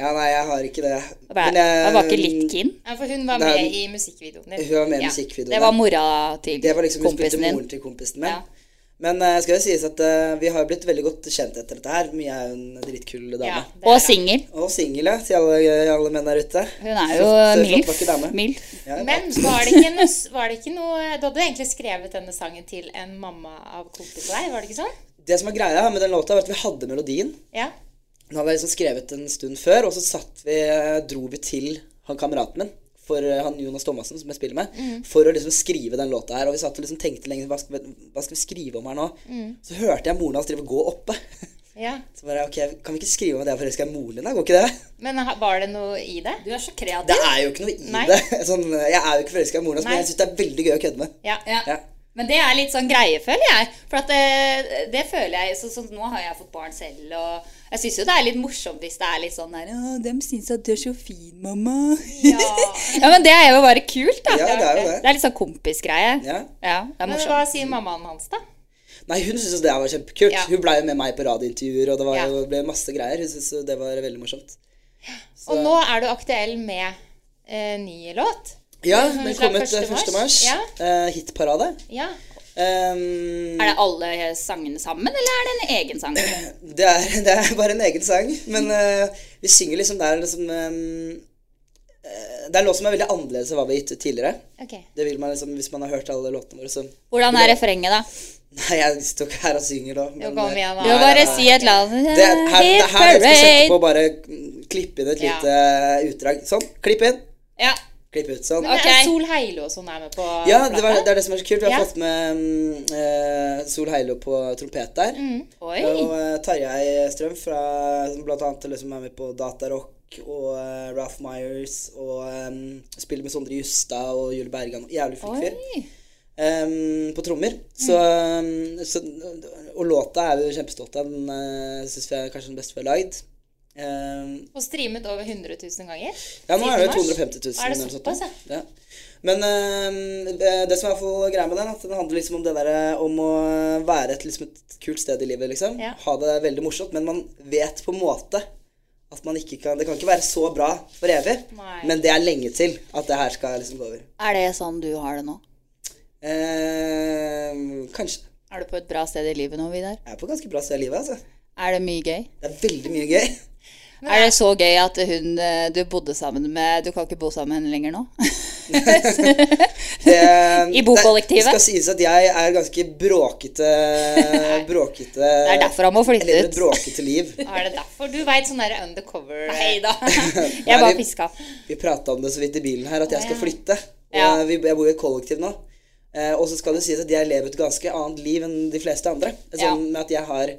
[SPEAKER 4] ja, nei, jeg har ikke det.
[SPEAKER 3] Jeg
[SPEAKER 4] eh,
[SPEAKER 3] var ikke litt keen.
[SPEAKER 2] Ja, for hun var
[SPEAKER 4] Nei,
[SPEAKER 2] med i musikkvideoen din.
[SPEAKER 4] Hun var med i
[SPEAKER 3] Ja.
[SPEAKER 4] musikkvideoen.
[SPEAKER 3] Det var mora til
[SPEAKER 4] Det var liksom hun spilte
[SPEAKER 3] kompisen din.
[SPEAKER 4] moren til kompisen min.
[SPEAKER 3] Ja.
[SPEAKER 4] Men eh, skal det sies at eh, vi har blitt veldig godt kjent etter dette her. Mia er jo en dritkul dame.
[SPEAKER 2] Ja, det er
[SPEAKER 3] Og
[SPEAKER 2] bra.
[SPEAKER 3] singel.
[SPEAKER 4] Og singel, ja, til alle, alle menn der ute.
[SPEAKER 3] Hun er jo
[SPEAKER 4] Flott- flott
[SPEAKER 3] milf.
[SPEAKER 4] vakker dame.
[SPEAKER 3] milf.
[SPEAKER 4] Ja,
[SPEAKER 2] Men var det, ikke noe, var det ikke noe Du hadde egentlig skrevet denne sangen til en mamma av kompis av deg, var det ikke sånn?
[SPEAKER 4] Det som er greia med den låta, var at vi hadde melodien.
[SPEAKER 2] Ja.
[SPEAKER 4] Den hadde jeg liksom skrevet en stund før, og så satt vi, dro vi til han kameraten min, for eh, han Jonas Thomassen, som jeg spiller med,
[SPEAKER 2] Mm.
[SPEAKER 4] for å liksom skrive den låta her. Og vi satt og liksom tenkte lenge hva skal, vi, hva skal vi skrive om her nå?
[SPEAKER 2] Mm.
[SPEAKER 4] Så hørte jeg moren hans drive og gå oppe.
[SPEAKER 2] ja.
[SPEAKER 4] Så bare, ok, Kan vi ikke skrive om at jeg er forelska i moren din, da? Går ikke det?
[SPEAKER 2] Men ha- var det noe i det?
[SPEAKER 3] Du er så
[SPEAKER 4] Det
[SPEAKER 3] kreativ.
[SPEAKER 4] er jo ikke noe i
[SPEAKER 2] Nei.
[SPEAKER 4] det. Sånn, jeg er jo ikke forelska i moren hans,
[SPEAKER 2] Nei.
[SPEAKER 4] men jeg syns det er veldig gøy å kødde med.
[SPEAKER 2] Ja.
[SPEAKER 3] Ja.
[SPEAKER 4] Ja.
[SPEAKER 3] Men det er litt sånn greie, føler jeg. For at det, det føler jeg så, så Nå har jeg fått barn selv, og jeg syns jo det er litt morsomt hvis det er litt sånn der Å, dem syns at du er så fin, mamma. Ja. men det er jo bare kult, da.
[SPEAKER 4] Ja, det er jo det.
[SPEAKER 3] Det er litt sånn kompisgreie.
[SPEAKER 4] Ja.
[SPEAKER 3] det er
[SPEAKER 2] Men hva
[SPEAKER 3] morsomt.
[SPEAKER 2] sier mammaen hans, da?
[SPEAKER 4] Nei, hun syntes jo det var kjempekult.
[SPEAKER 2] Ja.
[SPEAKER 4] Hun blei jo med meg på radiointervjuer, og det var,
[SPEAKER 2] Ja.
[SPEAKER 4] jo- ble masse greier. Hun syntes jo det var veldig morsomt.
[SPEAKER 2] Og nå er du aktuell med eh, ny låt.
[SPEAKER 4] Ja,
[SPEAKER 2] Som
[SPEAKER 4] den
[SPEAKER 2] slapp
[SPEAKER 4] kom ut
[SPEAKER 2] 1. mars.
[SPEAKER 4] 1. mars.
[SPEAKER 2] Ja.
[SPEAKER 4] Eh, hitparade.
[SPEAKER 2] Ja.
[SPEAKER 4] Ehm,
[SPEAKER 3] Er det alle sangene sammen, eller er det en egen sang?
[SPEAKER 4] det, er, det er bare en egen sang, men eh, vi synger liksom der liksom ehm, eh, Det er en låt som er veldig annerledes enn hva vi har gitt ut tidligere.
[SPEAKER 2] Ok.
[SPEAKER 4] Det vil man liksom, Hvis man har hørt alle låtene våre, så
[SPEAKER 3] Hvordan er refrenget, da?
[SPEAKER 4] Nei, jeg står ikke her og synger da.
[SPEAKER 2] Jo,
[SPEAKER 4] men,
[SPEAKER 2] kom
[SPEAKER 4] eh,
[SPEAKER 2] igjen,
[SPEAKER 3] Du må
[SPEAKER 2] da.
[SPEAKER 3] bare si et eller annet.
[SPEAKER 4] Det, er- her, det er her jeg skal sette
[SPEAKER 3] Parade.
[SPEAKER 4] på og bare mm, klippe inn et
[SPEAKER 2] Ja.
[SPEAKER 4] lite utdrag. Sånn. Klipp inn,
[SPEAKER 3] Ja.
[SPEAKER 4] klipp ut. Sånn.
[SPEAKER 2] Men
[SPEAKER 3] Ok.
[SPEAKER 2] er Sol Heilo og sånn er med på
[SPEAKER 4] Ja, det, var,
[SPEAKER 2] plata?
[SPEAKER 4] det er det som er så kult. Vi har
[SPEAKER 2] Ja.
[SPEAKER 4] fått med mm, eh, Sol Heilo på trompet der.
[SPEAKER 3] Mm. Oi.
[SPEAKER 4] Og eh, Tarjei Strøm, fra, som blant annet liksom er med på Datarock og eh, Ralph Myers, og em, spiller med Sondre Justad og Jule Bergan. Jævlig flink fyr.
[SPEAKER 3] Oi. Mm.
[SPEAKER 4] em, på trommer. Så, mm, eh, em, så, og låta er vi kjempestolte av. Den uh, syns vi er kanskje den beste vi har lagd. Ehm,
[SPEAKER 2] Og streamet over 100 000 ganger.
[SPEAKER 4] Ja, nå er det jo
[SPEAKER 2] siden mars.
[SPEAKER 4] 250
[SPEAKER 2] Er
[SPEAKER 4] 000.
[SPEAKER 2] det
[SPEAKER 4] eller noe sånt,
[SPEAKER 2] såpass, ja?
[SPEAKER 4] ja. Men eh, det som er for greia med den, at den handler liksom om det der eh, om å være et, liksom et kult sted i livet, liksom.
[SPEAKER 2] Ja.
[SPEAKER 4] Ha det veldig morsomt, men man vet på en måte at man ikke kan Det kan ikke være så bra for evig,
[SPEAKER 2] Nei.
[SPEAKER 4] men det er lenge til at det her skal liksom gå over.
[SPEAKER 3] Er det sånn du har det nå?
[SPEAKER 4] Eh, kanskje.
[SPEAKER 3] Er du på et bra sted i livet nå, Vidar?
[SPEAKER 4] Jeg er på et ganske bra sted i livet, altså.
[SPEAKER 3] Er det mye gøy?
[SPEAKER 4] Det er veldig mye gøy.
[SPEAKER 3] Er det så gøy at hun eh, du bodde sammen med Du kan ikke bo sammen med henne lenger nå?
[SPEAKER 4] Det-
[SPEAKER 3] I bokollektivet?
[SPEAKER 4] Eh, Det skal sies at jeg er ganske bråkete Bråkete Det
[SPEAKER 3] er derfor han må flytte
[SPEAKER 4] Jeg lever
[SPEAKER 3] ut.
[SPEAKER 4] et bråkete liv.
[SPEAKER 2] Er det derfor? Du veit sånn derre undercover
[SPEAKER 3] Nei da.
[SPEAKER 2] Jeg bare
[SPEAKER 4] vi-
[SPEAKER 2] fiska.
[SPEAKER 4] Vi prata om det så vidt i bilen her, at jeg skal
[SPEAKER 2] ja.
[SPEAKER 4] flytte. Og
[SPEAKER 2] Ja.
[SPEAKER 4] jeg- vi, jeg bor i et kollektiv nå. Eh, og så skal det sies at jeg lever et ganske annet liv enn de fleste andre. Sånn
[SPEAKER 2] Ja.
[SPEAKER 4] med at jeg har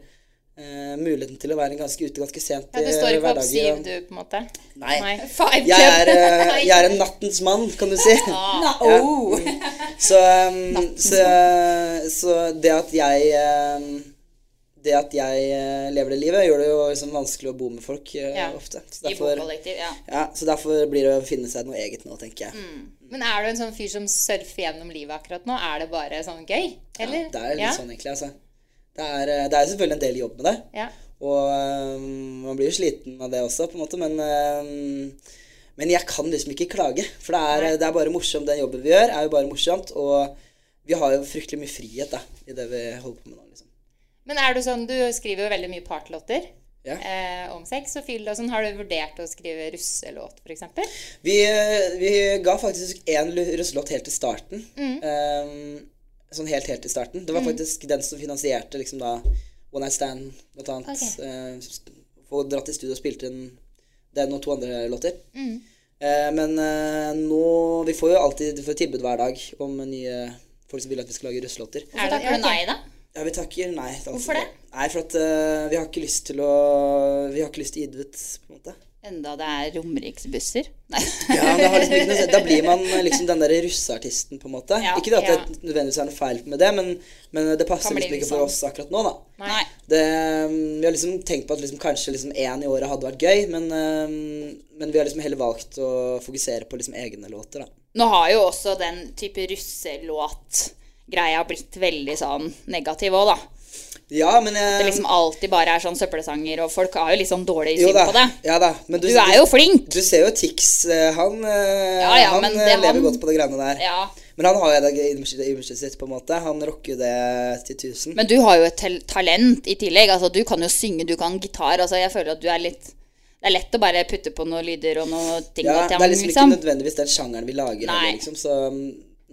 [SPEAKER 4] eh, muligheten til å være ganske ute ganske sent
[SPEAKER 2] Ja, du
[SPEAKER 4] i
[SPEAKER 2] står ikke opp
[SPEAKER 4] hverdagen,
[SPEAKER 2] syv,
[SPEAKER 4] og-
[SPEAKER 2] du, på en måte?
[SPEAKER 4] Nei.
[SPEAKER 2] Five
[SPEAKER 4] Jeg er,
[SPEAKER 2] club.
[SPEAKER 4] eh, jeg er en nattens mann, kan du si.
[SPEAKER 3] oh.
[SPEAKER 4] Så, um, så, så det at jeg um, Det at jeg eh, lever det livet, gjør det jo liksom vanskelig å bo med folk eh,
[SPEAKER 2] Ja.
[SPEAKER 4] ofte. Så
[SPEAKER 2] I
[SPEAKER 4] derfor,
[SPEAKER 2] bokollektiv, ja.
[SPEAKER 4] ja, så derfor blir det å finne seg noe eget nå, tenker jeg.
[SPEAKER 2] Men er du en sånn fyr som surfer gjennom livet akkurat nå? Er det bare sånn gøy? Eller?
[SPEAKER 4] Det er litt
[SPEAKER 2] Ja?
[SPEAKER 4] sånn, egentlig. altså det er, eh, det er selvfølgelig en del jobb med det.
[SPEAKER 2] Ja.
[SPEAKER 4] Og um, man blir jo sliten av det også, på en måte, men um, men jeg kan liksom ikke klage, for det er, det er bare morsomt. Den jobben vi gjør, er jo bare morsomt. Og vi har jo fryktelig mye frihet da, i det vi holder på med nå. liksom.
[SPEAKER 2] Men er du sånn Du skriver jo veldig mye partylåter
[SPEAKER 4] Ja.
[SPEAKER 2] eh, om sex og fyll og sånn. Har du vurdert å skrive russelåt, f.eks.?
[SPEAKER 4] Vi, eh, vi ga faktisk én russelåt helt til starten.
[SPEAKER 2] Mm.
[SPEAKER 4] Ehm, sånn helt, helt til starten. Det var faktisk den som finansierte liksom da One Night Stand, blant annet. Eh,
[SPEAKER 2] Ok.
[SPEAKER 4] Okay. og dratt i studio og spilte inn den og to andre låter.
[SPEAKER 2] Mm.
[SPEAKER 4] Eh, men eh, nå Vi får jo alltid vi får tilbud hver dag om nye folk som vil at vi skal lage russelåter.
[SPEAKER 2] Hvorfor
[SPEAKER 3] takker du nei, da?
[SPEAKER 4] Ja, vi takker nei. til alt
[SPEAKER 2] Hvorfor
[SPEAKER 4] som-
[SPEAKER 2] det?
[SPEAKER 4] Nei, For at eh, vi har ikke lyst til å Vi har ikke lyst til å gi det ut, på en måte.
[SPEAKER 3] Enda det er Romeriksbusser? Nei.
[SPEAKER 4] Ja, men det har liksom ikke noe Da blir man liksom den der russeartisten, på en måte.
[SPEAKER 2] Ja,
[SPEAKER 4] ikke det at
[SPEAKER 2] ja.
[SPEAKER 4] det nødvendigvis er noe feil med det, men, men det passer
[SPEAKER 2] Kan bli
[SPEAKER 4] liksom ikke
[SPEAKER 2] litt
[SPEAKER 4] for
[SPEAKER 2] sånn.
[SPEAKER 4] oss akkurat nå, da.
[SPEAKER 3] Nei.
[SPEAKER 4] Det, vi har liksom tenkt på at liksom, kanskje liksom én i året hadde vært gøy, men, øhm, men vi har liksom heller valgt å fokusere på liksom egne låter, da.
[SPEAKER 3] Nå har jo også den type russelåt-greia blitt veldig sånn negativ òg, da.
[SPEAKER 4] Ja, men
[SPEAKER 3] Det
[SPEAKER 4] jeg
[SPEAKER 3] liksom alltid bare er sånn søppelsanger, og folk har jo liksom dårlig
[SPEAKER 4] jo
[SPEAKER 3] syn
[SPEAKER 4] da,
[SPEAKER 3] på det.
[SPEAKER 4] Ja da. Men du,
[SPEAKER 3] Du er jo flink!
[SPEAKER 4] Du ser jo Tix. eh, Han, eh,
[SPEAKER 3] Ja, ja,
[SPEAKER 4] han
[SPEAKER 3] men det
[SPEAKER 4] eh, lever
[SPEAKER 3] han-
[SPEAKER 4] godt på det greiene der.
[SPEAKER 3] Ja.
[SPEAKER 4] Men han har jo det imaget sitt, på en måte. Han rocker jo det til tusen.
[SPEAKER 3] Men du har jo et tel- talent i tillegg. Altså, du kan jo synge, du kan gitar. Altså, jeg føler at du er litt Det er lett å bare putte på noen lyder og noen ting.
[SPEAKER 4] Ja,
[SPEAKER 3] til
[SPEAKER 4] det
[SPEAKER 3] ham,
[SPEAKER 4] er liksom ikke
[SPEAKER 3] liksom.
[SPEAKER 4] nødvendigvis den sjangeren vi lager.
[SPEAKER 3] Nei.
[SPEAKER 4] heller, Liksom, så mm,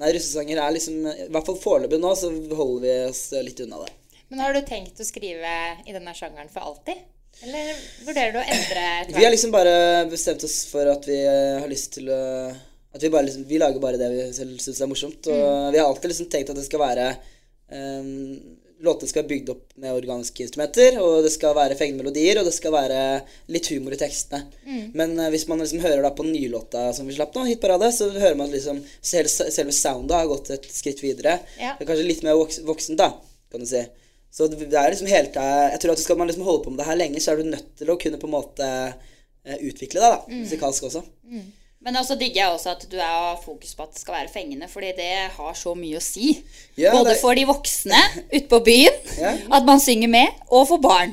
[SPEAKER 4] nei, russesanger er liksom I hvert fall foreløpig nå, så holder vi oss litt unna det.
[SPEAKER 2] Men har du tenkt å skrive i denne sjangeren for alltid? Eller vurderer du å endre etter
[SPEAKER 4] Vi har
[SPEAKER 2] hvert?
[SPEAKER 4] liksom bare bestemt oss for at vi eh, har lyst til å At vi bare liksom Vi lager bare det vi selv syns er morsomt. Og vi har alltid liksom tenkt at det skal være um, Låtene skal være bygd opp med organiske instrumenter, og det skal være fengende melodier, og det skal være litt humor i tekstene. Men eh, hvis man liksom hører da på nylåta som vi slapp nå, Hitparade, så hører man at liksom sel- selve soundet har gått et skritt videre.
[SPEAKER 2] Ja.
[SPEAKER 4] Det er kanskje litt mer voks voksent, da, kan du si. Så det det er liksom hele tida Jeg tror at skal man liksom holde på med det her lenge, så er du nødt til å kunne på en måte eh, utvikle deg,
[SPEAKER 3] Mm.
[SPEAKER 4] da. Musikalsk også.
[SPEAKER 3] Men også digger jeg også at du har fokus på at det skal være fengende, fordi det har så mye å si.
[SPEAKER 4] Ja,
[SPEAKER 3] Både
[SPEAKER 4] det-
[SPEAKER 3] for de voksne ute på byen,
[SPEAKER 4] Ja.
[SPEAKER 3] at man synger med, og for barn.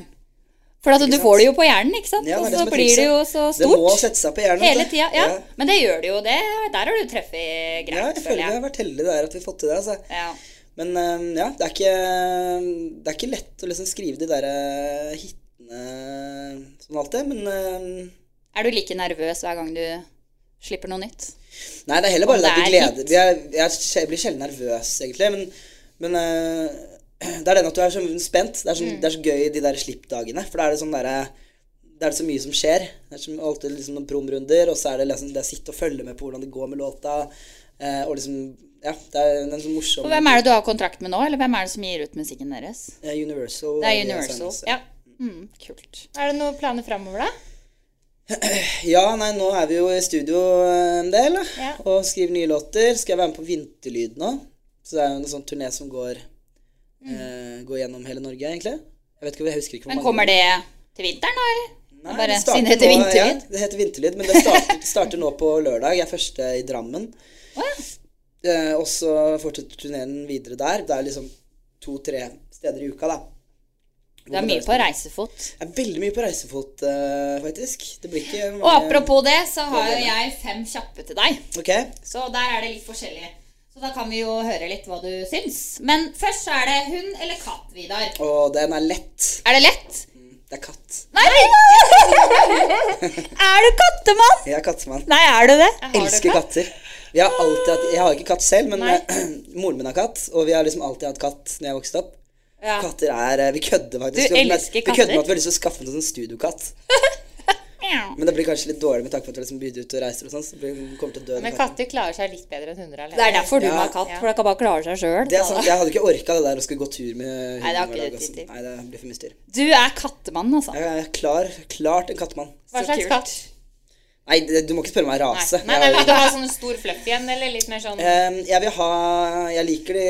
[SPEAKER 3] For at du
[SPEAKER 4] sant?
[SPEAKER 3] får det jo på hjernen, ikke sant?
[SPEAKER 4] Ja,
[SPEAKER 3] og
[SPEAKER 4] det er
[SPEAKER 3] så
[SPEAKER 4] som er
[SPEAKER 3] blir det jo
[SPEAKER 4] trikset.
[SPEAKER 3] så
[SPEAKER 4] Det må
[SPEAKER 3] stort.
[SPEAKER 4] sette seg på hjernen.
[SPEAKER 3] Hele
[SPEAKER 4] vet du.
[SPEAKER 3] tida. Ja.
[SPEAKER 4] ja.
[SPEAKER 3] Men det gjør det jo. Det, der har du truffet
[SPEAKER 4] Ja,
[SPEAKER 3] greit,
[SPEAKER 4] jeg føler vi har vært heldige der at vi har fått til det. Altså.
[SPEAKER 3] Ja.
[SPEAKER 4] Men eh, ja, det er, ikke, det er ikke lett å liksom skrive de der eh, hitene sånn alltid, men eh,
[SPEAKER 3] Er du like nervøs hver gang du slipper noe nytt?
[SPEAKER 4] Nei, det er heller bare
[SPEAKER 3] Om
[SPEAKER 4] det at
[SPEAKER 3] det
[SPEAKER 4] vi
[SPEAKER 3] er
[SPEAKER 4] gleder
[SPEAKER 3] litt.
[SPEAKER 4] vi er, jeg, er sj- jeg blir sjelden nervøs, egentlig. Men, men eh, det er den at du er så spent. Det
[SPEAKER 3] Mm.
[SPEAKER 4] er, sånn, det er så gøy de der slippdagene. For da er det sånn derre det er så mye som skjer. Det er så, alltid liksom noen promrunder, og så er det liksom det å sitte og følge med på hvordan det går med låta. eh, og liksom Ja, det er en sånn morsom
[SPEAKER 3] Og hvem er det du har kontrakt med nå, eller hvem er det som gir ut musikken deres?
[SPEAKER 4] eh, Universal.
[SPEAKER 3] Det er
[SPEAKER 4] eh,
[SPEAKER 3] Universal.
[SPEAKER 4] Sounds.
[SPEAKER 3] Ja. Mm, kult.
[SPEAKER 2] Er det noen planer framover, da?
[SPEAKER 4] Ja, nei, nå er vi jo i studio eh, en del, da.
[SPEAKER 2] Ja.
[SPEAKER 4] Og skriver nye låter. Skal jeg være med på Vinterlyd nå? Så det er jo en sånn turné som går,
[SPEAKER 3] Mm.
[SPEAKER 4] eh, går gjennom hele Norge, egentlig. Jeg vet ikke, jeg husker ikke hvor
[SPEAKER 3] Men kommer det til vinteren, da, eller?
[SPEAKER 4] Nei,
[SPEAKER 3] Bare
[SPEAKER 4] det starter
[SPEAKER 3] siden det heter
[SPEAKER 4] nå-
[SPEAKER 3] Vinterlyd.
[SPEAKER 4] Ja, det heter Vinterlyd, men det starter, starter nå på lørdag. Jeg er første i Drammen. Eh, og så fortsetter turneen videre der. Det er liksom to-tre steder i uka, da.
[SPEAKER 3] Du er mye på reisefot.
[SPEAKER 4] Jeg er veldig mye på reisefot, eh, faktisk. Det blir ikke mange
[SPEAKER 3] Og apropos det, så har jo jeg fem kjappe til deg.
[SPEAKER 4] Ok.
[SPEAKER 3] Så der er det litt forskjellig. Så da kan vi jo høre litt hva du syns. Men først så er det hund eller katt, Vidar.
[SPEAKER 4] Og den er lett.
[SPEAKER 3] Er det lett?
[SPEAKER 4] Det er katt.
[SPEAKER 3] Nei! er du kattemann?
[SPEAKER 4] Jeg er kattemann.
[SPEAKER 3] Nei, er du det?
[SPEAKER 4] Elsker katter. Vi har alltid hatt, jeg har ikke katt selv, men eh, moren min har katt. Og vi har liksom alltid hatt katt når jeg vokste opp.
[SPEAKER 3] Ja.
[SPEAKER 4] Katter er eh, Vi kødder faktisk.
[SPEAKER 3] Du
[SPEAKER 4] om det.
[SPEAKER 3] elsker
[SPEAKER 4] Vi kødder
[SPEAKER 3] katter.
[SPEAKER 4] med at vi har lyst til å skaffe en sånn studiokatt. Men det blir kanskje litt dårlig med tanke på at vi liksom blir ute og reiser og sånn. Så blir, kommer til å dø den
[SPEAKER 2] Men
[SPEAKER 4] katten.
[SPEAKER 2] katter klarer seg litt bedre enn hunder alene.
[SPEAKER 3] Det er derfor du
[SPEAKER 4] Ja.
[SPEAKER 3] må ha katt, for da kan bare klare seg
[SPEAKER 4] Det er
[SPEAKER 3] sjøl.
[SPEAKER 4] sant, Jeg hadde ikke orka det der å skulle gå tur med hunden
[SPEAKER 3] det har ikke
[SPEAKER 4] hver dag.
[SPEAKER 3] du tid
[SPEAKER 4] altså.
[SPEAKER 3] til.
[SPEAKER 4] Nei, det blir for mye styr.
[SPEAKER 3] Du er kattemann, altså.
[SPEAKER 4] Jeg er klar, klart en kattemann.
[SPEAKER 2] Hva slags katt?
[SPEAKER 4] Nei, det- du må ikke spørre meg
[SPEAKER 2] Nei,
[SPEAKER 4] rase.
[SPEAKER 2] nei, nei,
[SPEAKER 4] Jeg er-
[SPEAKER 2] vil du ha sånn stor fluff igjen, eller litt mer sånn
[SPEAKER 4] Ehm, jeg vil ha Jeg liker de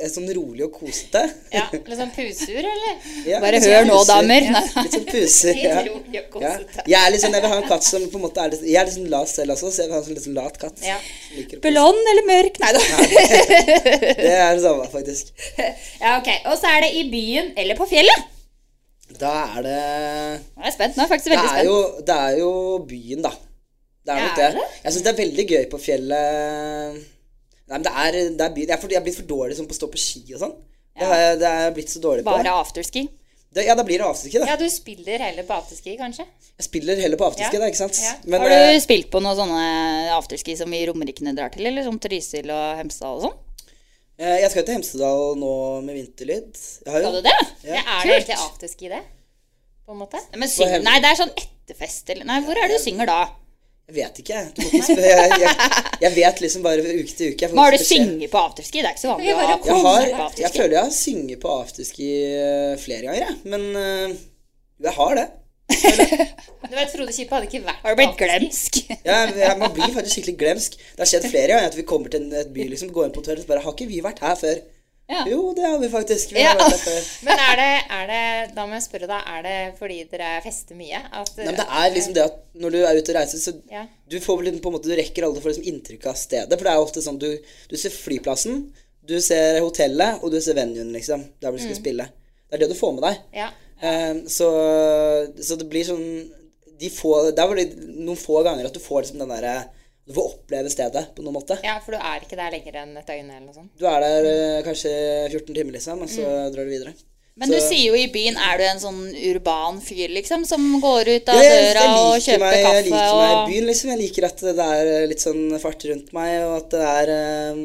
[SPEAKER 4] eh, sånn rolig og kosete.
[SPEAKER 2] ja, litt sånn pusur, eller?
[SPEAKER 4] Ja,
[SPEAKER 3] Bare
[SPEAKER 4] litt sånn
[SPEAKER 3] hør nå,
[SPEAKER 4] puser.
[SPEAKER 3] damer. Nei, nei.
[SPEAKER 4] Litt sånn puser. Ja.
[SPEAKER 2] Rolig og
[SPEAKER 4] Ja.
[SPEAKER 2] kosete.
[SPEAKER 4] Jeg, er litt sånn, jeg vil ha en katt som på en måte er litt, Jeg er litt sånn lat selv også, så jeg vil ha en sånn litt sånn lat katt.
[SPEAKER 2] Ja.
[SPEAKER 4] som liker å pose.
[SPEAKER 3] Blond eller mørk? Nei da.
[SPEAKER 4] Det er det samme, faktisk.
[SPEAKER 3] Ja, ok. Og så er det i byen eller på fjellet.
[SPEAKER 4] Da er det
[SPEAKER 3] Nå er jeg spent. Nå er jeg faktisk
[SPEAKER 4] Det
[SPEAKER 3] veldig
[SPEAKER 4] er
[SPEAKER 3] spent.
[SPEAKER 4] jo, det er jo byen, da. Det er nok
[SPEAKER 3] Er
[SPEAKER 4] det. Jeg syns det er veldig gøy på fjellet. Nei, men det er, det er byen. Jeg er, for, jeg er blitt for dårlig sånn på å stå på ski og sånn. Det, har jeg, det er jeg blitt så dårlig på.
[SPEAKER 3] Bare afterski.
[SPEAKER 4] Det, ja, da blir det avstikke, da.
[SPEAKER 2] Ja, du spiller heller på afterski, kanskje?
[SPEAKER 4] Jeg spiller heller på afterski,
[SPEAKER 2] Ja.
[SPEAKER 4] da, ikke sant.
[SPEAKER 2] Ja.
[SPEAKER 4] Men,
[SPEAKER 3] Har
[SPEAKER 4] eh,
[SPEAKER 3] du spilt på noen sånne afterski som vi romerikene drar til? Eller som Trysil og Hemsedal og sånn?
[SPEAKER 4] Eh, Jeg skal til Hemsedal nå med vinterlyd. Jeg har jo-
[SPEAKER 3] Skal du det?
[SPEAKER 4] Ja.
[SPEAKER 2] Ja, er det egentlig afterski, det? På en måte?
[SPEAKER 3] Men syng,
[SPEAKER 4] Hem-
[SPEAKER 3] nei, det er sånn etterfest eller Nei, hvor er det du synger da?
[SPEAKER 4] Jeg vet ikke, jeg. Du må ikke spørre. Jeg, jeg, jeg vet liksom bare fra uke til uke. Jeg får
[SPEAKER 3] Hva har du
[SPEAKER 4] ikke beskjed.
[SPEAKER 3] synget på afterski? Det er ikke så vanlig å ha
[SPEAKER 4] Jeg, har,
[SPEAKER 3] konsert på
[SPEAKER 4] jeg
[SPEAKER 3] afterski.
[SPEAKER 4] føler jeg har sunget på afterski eh, flere ganger, jeg. Men eh, jeg har det.
[SPEAKER 2] Du vet, Frode Kippe hadde ikke vært
[SPEAKER 3] Har du blitt
[SPEAKER 2] på afterski.
[SPEAKER 3] glemsk?
[SPEAKER 4] Jeg, jeg, man blir faktisk skikkelig glemsk. Det har skjedd flere ganger at vi kommer til en et by liksom, går inn på hotellet og bare Har ikke vi vært her før?
[SPEAKER 3] Ja.
[SPEAKER 4] Jo, det har vi faktisk. Vi
[SPEAKER 3] Ja.
[SPEAKER 4] har vært her før.
[SPEAKER 2] Men er det, er det Da må jeg spørre, da. Er det fordi dere fester mye? At,
[SPEAKER 4] Nei, men det er liksom det at når du er ute og reiser, så
[SPEAKER 2] Ja.
[SPEAKER 4] du får vel på en måte, du rekker alle for liksom inntrykk av stedet. For det er jo ofte sånn du, du ser flyplassen, du ser hotellet, og du ser venuen, liksom. Der hvor du skal spille. Det er det du får med deg.
[SPEAKER 2] Mm. Ja.
[SPEAKER 4] Eh, så, så det blir sånn de få, Det er vel de- noen få ganger at du får liksom den derre Du får oppleve stedet på noen måte.
[SPEAKER 2] ja, for du er ikke der lenger enn et døgn eller noe sånt.
[SPEAKER 4] Du er der eh, kanskje 14 timer, liksom, og så
[SPEAKER 2] Mm.
[SPEAKER 4] drar du videre.
[SPEAKER 3] Men du
[SPEAKER 4] Så-
[SPEAKER 3] sier jo i byen er du en sånn urban fyr, liksom, som går ut av
[SPEAKER 4] Ja,
[SPEAKER 3] døra og
[SPEAKER 4] liker
[SPEAKER 3] kjøper
[SPEAKER 4] meg,
[SPEAKER 3] kaffe
[SPEAKER 4] Jeg liker meg i
[SPEAKER 3] og
[SPEAKER 4] byen, liksom. Jeg liker at det er eh, litt sånn fart rundt meg, og at det er eh,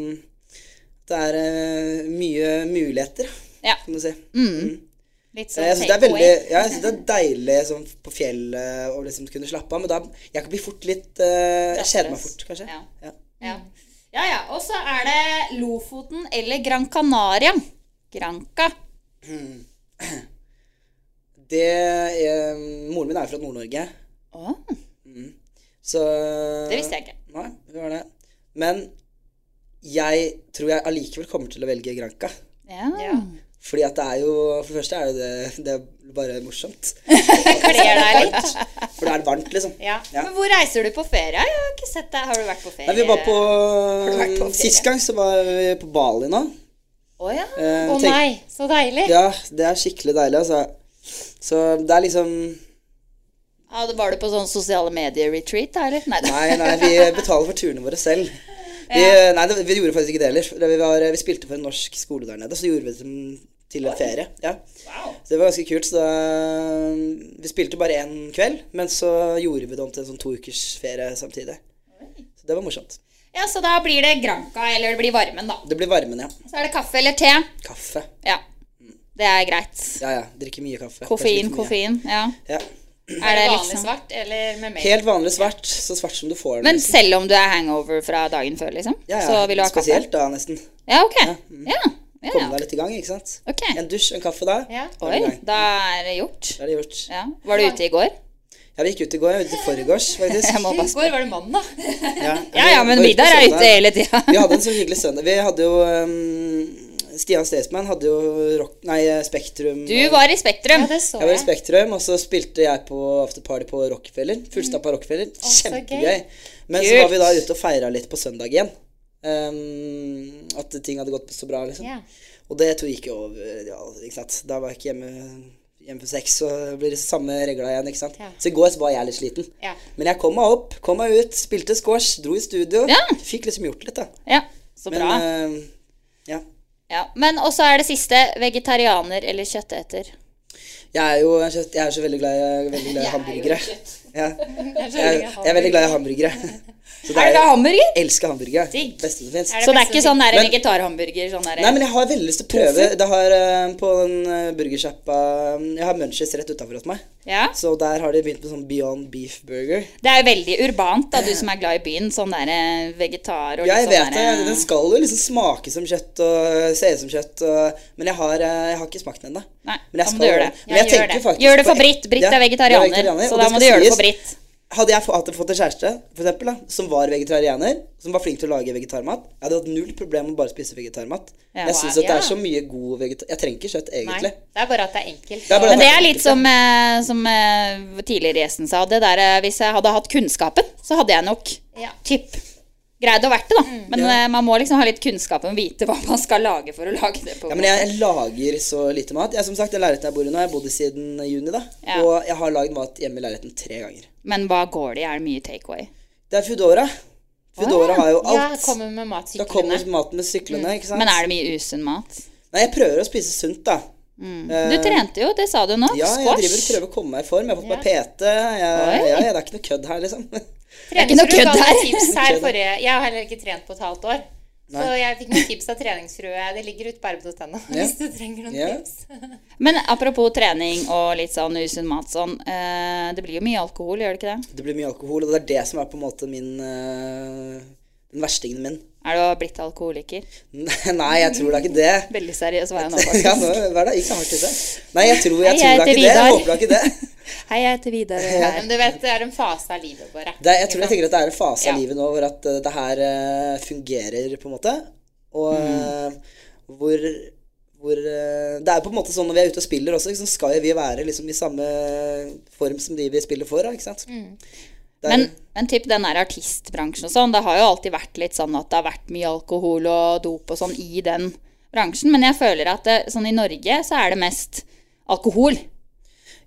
[SPEAKER 4] Det er eh, mye muligheter,
[SPEAKER 3] Ja. Mm.
[SPEAKER 4] kan du si.
[SPEAKER 3] Litt
[SPEAKER 4] Eh, jeg
[SPEAKER 3] sånn
[SPEAKER 4] syns det er veldig
[SPEAKER 3] takeaway.
[SPEAKER 4] ja, jeg synes det er deilig sånn, på fjellet å liksom kunne slappe av, men da Jeg kan bli fort litt eh, Jeg kjeder meg fort, kanskje.
[SPEAKER 3] Ja.
[SPEAKER 4] Ja.
[SPEAKER 3] Ja. ja ja. Og så er det Lofoten eller Gran Canaria. Granca.
[SPEAKER 4] Det er, Moren min er jo fra Nord-Norge, Mm.
[SPEAKER 3] Å,
[SPEAKER 4] så
[SPEAKER 3] det visste jeg ikke.
[SPEAKER 4] Nei, hun er det. Men jeg tror jeg allikevel kommer til å velge Granca.
[SPEAKER 3] Ja.
[SPEAKER 4] Fordi at det er jo For det første er jo det, det er bare morsomt.
[SPEAKER 2] Kler deg litt.
[SPEAKER 4] For da er det varmt, liksom.
[SPEAKER 2] Ja.
[SPEAKER 4] Ja.
[SPEAKER 2] Men hvor reiser du på ferie? Jeg har ikke sett deg. Har du vært på ferie?
[SPEAKER 4] Nei, vi var på,
[SPEAKER 2] du vært på ferie?
[SPEAKER 4] Sist gang så var vi på Bali nå.
[SPEAKER 3] Å ja.
[SPEAKER 4] Eh,
[SPEAKER 2] Å
[SPEAKER 4] tenk-
[SPEAKER 2] nei, så deilig.
[SPEAKER 4] Ja, det er skikkelig deilig, altså. Så det er liksom
[SPEAKER 3] ja. Var du på sånn sosiale medier-retreat, da, eller? Nei, da.
[SPEAKER 4] Nei, nei, vi betaler for turene våre selv. Vi, Nei, det, vi gjorde faktisk ikke det heller. Vi, var, vi spilte for en norsk skole der nede, så gjorde vi det som- til en ferie. Ja. Så det var ganske kult. Så da, vi spilte bare én kveld, men så gjorde vi det om til en sånn to ukers ferie samtidig. Så det var morsomt.
[SPEAKER 3] Ja, Så da blir det Granca, eller det blir Varmen, da.
[SPEAKER 4] Det blir varmen, ja.
[SPEAKER 3] Så er det kaffe eller te.
[SPEAKER 4] Kaffe.
[SPEAKER 3] Ja. Det er greit.
[SPEAKER 4] Ja, ja. Drikke mye kaffe.
[SPEAKER 3] Koffein,
[SPEAKER 4] Kanskje litt for mye.
[SPEAKER 3] koffein. Ja.
[SPEAKER 4] Ja.
[SPEAKER 3] Er det
[SPEAKER 2] Vanlig
[SPEAKER 3] liksom
[SPEAKER 2] svart eller med melk?
[SPEAKER 4] sånn. Helt vanlig svart. Så svart som du får den.
[SPEAKER 3] Men
[SPEAKER 4] nesten.
[SPEAKER 3] selv om du er hangover fra dagen før, liksom?
[SPEAKER 4] ja, ja.
[SPEAKER 3] Så vil du ha kaffe?
[SPEAKER 4] Spesielt da, nesten.
[SPEAKER 3] Ja, ok. Ja. ja,
[SPEAKER 4] Komme
[SPEAKER 3] ja.
[SPEAKER 4] deg litt i gang, ikke sant.
[SPEAKER 3] Ok.
[SPEAKER 4] En dusj, en kaffe da.
[SPEAKER 2] Ja.
[SPEAKER 4] Da
[SPEAKER 3] Oi,
[SPEAKER 4] er vi i gang.
[SPEAKER 3] da er det gjort.
[SPEAKER 4] Da er det gjort.
[SPEAKER 3] Ja. Var du ute i går?
[SPEAKER 4] Jeg gikk ut i går. Jeg var ute i forgårs, faktisk.
[SPEAKER 3] Jeg må
[SPEAKER 2] I
[SPEAKER 3] bare
[SPEAKER 2] går var det mandag.
[SPEAKER 4] Ja,
[SPEAKER 3] Ja, ja, men
[SPEAKER 4] Jeg var på
[SPEAKER 3] Vidar er ute
[SPEAKER 4] søndag.
[SPEAKER 3] hele tida.
[SPEAKER 4] Vi hadde en så hyggelig søndag. Vi hadde jo um, Stian Staysman hadde jo rock, nei, Spektrum.
[SPEAKER 3] Du
[SPEAKER 4] og-
[SPEAKER 3] var i Spektrum.
[SPEAKER 2] Ja, det så
[SPEAKER 4] Jeg var i
[SPEAKER 2] jeg.
[SPEAKER 4] Spektrum, og så spilte jeg på afterparty på Rockefeller. Fullstappa
[SPEAKER 3] Mm.
[SPEAKER 4] Rockefeller.
[SPEAKER 2] så
[SPEAKER 4] Kjempegøy. Men så
[SPEAKER 3] Kult.
[SPEAKER 4] var vi da ute og feira litt på søndag igjen. Ehm, at ting hadde gått så bra, liksom.
[SPEAKER 2] Ja.
[SPEAKER 4] Og det tror jeg gikk jo over. Ja, ikke sant? Da var jeg ikke hjemme, hjemme for sex, så blir det samme regla igjen. ikke sant?
[SPEAKER 2] Ja.
[SPEAKER 4] Så i går så var jeg litt sliten.
[SPEAKER 2] Ja.
[SPEAKER 4] Men jeg kom meg opp, kom meg ut, spilte squash, dro i studio.
[SPEAKER 3] Ja.
[SPEAKER 4] Fikk liksom gjort litt, da.
[SPEAKER 3] Ja, så
[SPEAKER 4] Men
[SPEAKER 3] bra.
[SPEAKER 4] ehm, ja.
[SPEAKER 3] ja. Men også er det siste vegetarianer eller kjøtteter.
[SPEAKER 4] Jeg er jo jeg er så veldig glad i, jeg er veldig glad i hamburgere. Ja.
[SPEAKER 2] Jeg
[SPEAKER 4] Jeg, er- jeg er veldig glad i hamburgere. Så det
[SPEAKER 3] Er det hamburger?
[SPEAKER 4] elsker hamburgere.
[SPEAKER 3] Digg.
[SPEAKER 4] Beste som fins.
[SPEAKER 3] Så det er ikke sånn der
[SPEAKER 4] Men-
[SPEAKER 3] vegetarhamburger? Sånn der,
[SPEAKER 4] Nei, men jeg har veldig lyst til å prøve. Det har eh, på den eh, burgersjappa um, Jeg har Munchies rett utafor hos meg.
[SPEAKER 3] ja?
[SPEAKER 4] Så der har de begynt med sånn Beyond Beef Burger.
[SPEAKER 3] Det er jo veldig urbant, da, du som er glad i byen. Sånn der eh, vegetar og
[SPEAKER 4] Jeg
[SPEAKER 3] litt
[SPEAKER 4] vet
[SPEAKER 3] sånn
[SPEAKER 4] det.
[SPEAKER 3] der,
[SPEAKER 4] Den skal jo liksom smake som kjøtt og eh, se ut som kjøtt. Og, men jeg har, eh, jeg har ikke smakt den ennå.
[SPEAKER 3] Nei,
[SPEAKER 4] Men jeg
[SPEAKER 3] da må
[SPEAKER 4] skal
[SPEAKER 3] du gjøre
[SPEAKER 4] gjøre
[SPEAKER 3] det.
[SPEAKER 4] det. Men jeg
[SPEAKER 3] Ja, gjør
[SPEAKER 4] tenker
[SPEAKER 3] det.
[SPEAKER 4] faktisk
[SPEAKER 3] Gjør det
[SPEAKER 4] på-
[SPEAKER 3] for Britt. Britt
[SPEAKER 4] Ja,
[SPEAKER 3] er vegetarianer,
[SPEAKER 4] jeg er vegetarianer,
[SPEAKER 3] så da
[SPEAKER 4] og
[SPEAKER 3] må
[SPEAKER 4] skal
[SPEAKER 3] du gjøre det for
[SPEAKER 4] sies.
[SPEAKER 3] Britt.
[SPEAKER 4] Hadde jeg fått fått en kjæreste for eksempel, da, som var vegetarianer, som var flink til å lage vegetarmat Jeg hadde hatt null problem med å bare spise vegetarmat.
[SPEAKER 3] Ja.
[SPEAKER 4] jeg syns at det
[SPEAKER 2] Ja.
[SPEAKER 4] er så mye god vegetar... Jeg trenger ikke kjøtt,
[SPEAKER 2] Nei,
[SPEAKER 4] egentlig.
[SPEAKER 2] det er bare at det er enkelt.
[SPEAKER 4] Det er bare at
[SPEAKER 3] Men det er
[SPEAKER 4] enkelt,
[SPEAKER 3] litt som, eh, som eh, tidligere gjesten sa. Det der, eh, hvis jeg hadde hatt kunnskapen, så hadde jeg nok
[SPEAKER 2] Ja.
[SPEAKER 3] typ greid å vært det, da. Men eh, man må liksom ha litt kunnskap om vite hva man skal lage for å lage det på.
[SPEAKER 4] Ja, men jeg, jeg lager så lite mat. Jeg, som sagt, den leiligheten jeg bor i nå, jeg har bodd i siden juni, da.
[SPEAKER 3] Ja.
[SPEAKER 4] Og jeg har lagd mat hjemme i leiligheten tre ganger.
[SPEAKER 3] Men hva går det i? Er det mye takeaway?
[SPEAKER 4] Det er Foodora. Foodora har jo
[SPEAKER 2] Ja,
[SPEAKER 4] alt.
[SPEAKER 2] kommer med
[SPEAKER 4] da kommer
[SPEAKER 2] matsyklene.
[SPEAKER 4] maten med syklene, ikke sant.
[SPEAKER 3] Mm. Men er det mye usunn mat?
[SPEAKER 4] Nei, jeg prøver å spise sunt, da.
[SPEAKER 3] Du trente jo, det sa du nå.
[SPEAKER 4] Eh, Ja, jeg driver og
[SPEAKER 3] Squash.
[SPEAKER 4] prøver å komme meg i form. Jeg har fått meg PT. Jeg,
[SPEAKER 3] Oi.
[SPEAKER 4] ja, ja, det er ikke noe kødd her, liksom.
[SPEAKER 2] Det
[SPEAKER 3] ikke noe kødd her.
[SPEAKER 2] Tips
[SPEAKER 4] Kødd
[SPEAKER 2] her
[SPEAKER 4] her.
[SPEAKER 2] forrige. Jeg har heller ikke trent på et halvt år. Så
[SPEAKER 4] Nei.
[SPEAKER 2] jeg fikk noen tips av treningsfrue. Det ligger ute på arbeid.no hvis du trenger noen
[SPEAKER 4] Ja.
[SPEAKER 2] tips.
[SPEAKER 3] Men apropos trening og litt sånn usunn mat sånn. eh, det blir jo mye alkohol, gjør det ikke det?
[SPEAKER 4] Det blir mye alkohol, og det er det som er på en måte min øh, Den verstingen min.
[SPEAKER 3] Er du blitt alkoholiker?
[SPEAKER 4] Nei, jeg tror det er ikke det.
[SPEAKER 3] Veldig seriøs var jeg nå,
[SPEAKER 4] Ja,
[SPEAKER 3] faktisk.
[SPEAKER 4] nå, hva er det? Ikke hardt i seg. Nei, jeg tror,
[SPEAKER 3] Hei,
[SPEAKER 4] jeg
[SPEAKER 3] jeg
[SPEAKER 4] tror det er ikke det. Jeg
[SPEAKER 3] heter
[SPEAKER 4] håper det er ikke det.
[SPEAKER 3] Hei, jeg heter Vidar. og
[SPEAKER 2] Nei,
[SPEAKER 3] jeg er-
[SPEAKER 2] men du vet, det er en fase av livet bare.
[SPEAKER 4] det er, jeg tror jeg tenker at det er en fase
[SPEAKER 2] Ja.
[SPEAKER 4] av livet nå hvor at eh, det her eh, fungerer, på en måte. Og eh, hvor, hvor eh, Det er på en måte sånn når vi er ute og spiller også, liksom, skal jo vi være liksom, i samme form som de vi spiller for, da, ikke sant? Det er,
[SPEAKER 3] Men, men typ den der artistbransjen og sånn, det har jo alltid vært litt sånn at det har vært mye alkohol og dop og sånn i den bransjen. Men jeg føler at det, sånn i Norge så er det mest alkohol.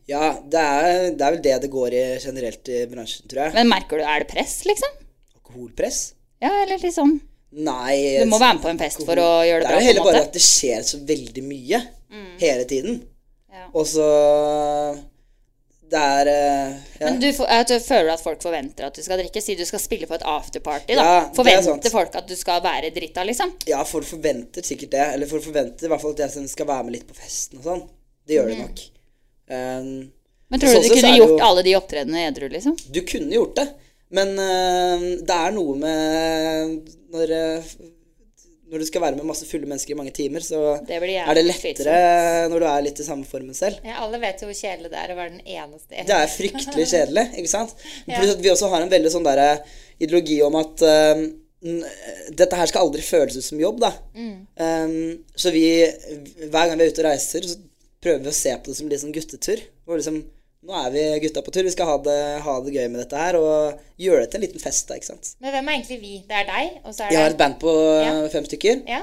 [SPEAKER 4] ja, det er, det er vel det det går i generelt i bransjen, tror jeg.
[SPEAKER 3] Men merker du, er det press, liksom?
[SPEAKER 4] Alkoholpress?
[SPEAKER 3] Ja, eller liksom
[SPEAKER 4] Nei
[SPEAKER 3] Du må være med på en fest for å gjøre det
[SPEAKER 4] Det
[SPEAKER 3] bra,
[SPEAKER 4] er jo
[SPEAKER 3] på en
[SPEAKER 4] heller
[SPEAKER 3] måte.
[SPEAKER 4] bare
[SPEAKER 3] Mm.
[SPEAKER 4] at det skjer så veldig mye hele tiden.
[SPEAKER 3] Ja.
[SPEAKER 4] Og så Det er eh, ja.
[SPEAKER 3] Men du, får- at du føler at folk forventer at du skal drikke? Si du skal spille på et afterparty, da.
[SPEAKER 4] Ja, det er sant.
[SPEAKER 3] forventer folk at du skal være drita, liksom?
[SPEAKER 4] Ja, folk forventer sikkert det. Eller folk forventer i hvert fall at jeg som skal være med litt på festen og sånn. Det gjør
[SPEAKER 3] Mhm.
[SPEAKER 4] de nok. Ehm,
[SPEAKER 3] Men tror du
[SPEAKER 4] Sånn
[SPEAKER 3] du
[SPEAKER 4] sett så
[SPEAKER 3] kunne
[SPEAKER 4] er det
[SPEAKER 3] gjort
[SPEAKER 4] jo-
[SPEAKER 3] alle de opptredenene edru, liksom?
[SPEAKER 4] du kunne gjort det, men ehm, det er noe med når, eh, når du skal være med masse fulle mennesker i mange timer, så
[SPEAKER 3] Det blir jævlig
[SPEAKER 4] er det lettere når du er litt i samme formen selv.
[SPEAKER 2] Ja, alle vet jo hvor kjedelig det er å være den eneste
[SPEAKER 4] Det er fryktelig kjedelig, ikke sant? Pluss at vi også har en veldig sånn der ideologi om at ehm, n- dette her skal aldri føles ut som jobb, da.
[SPEAKER 2] Mm.
[SPEAKER 4] Ehm, så vi, hver gang vi er ute og reiser, så prøver vi å se på det som litt sånn guttetur. Hvor liksom, nå er vi gutta på tur, vi skal ha det, ha det gøy med dette her, og gjøre det til en liten fest, da, ikke sant.
[SPEAKER 2] Men hvem er egentlig vi? Det er deg, og så er
[SPEAKER 4] Vi har et
[SPEAKER 2] det
[SPEAKER 4] band på eh, fem stykker,
[SPEAKER 2] ja.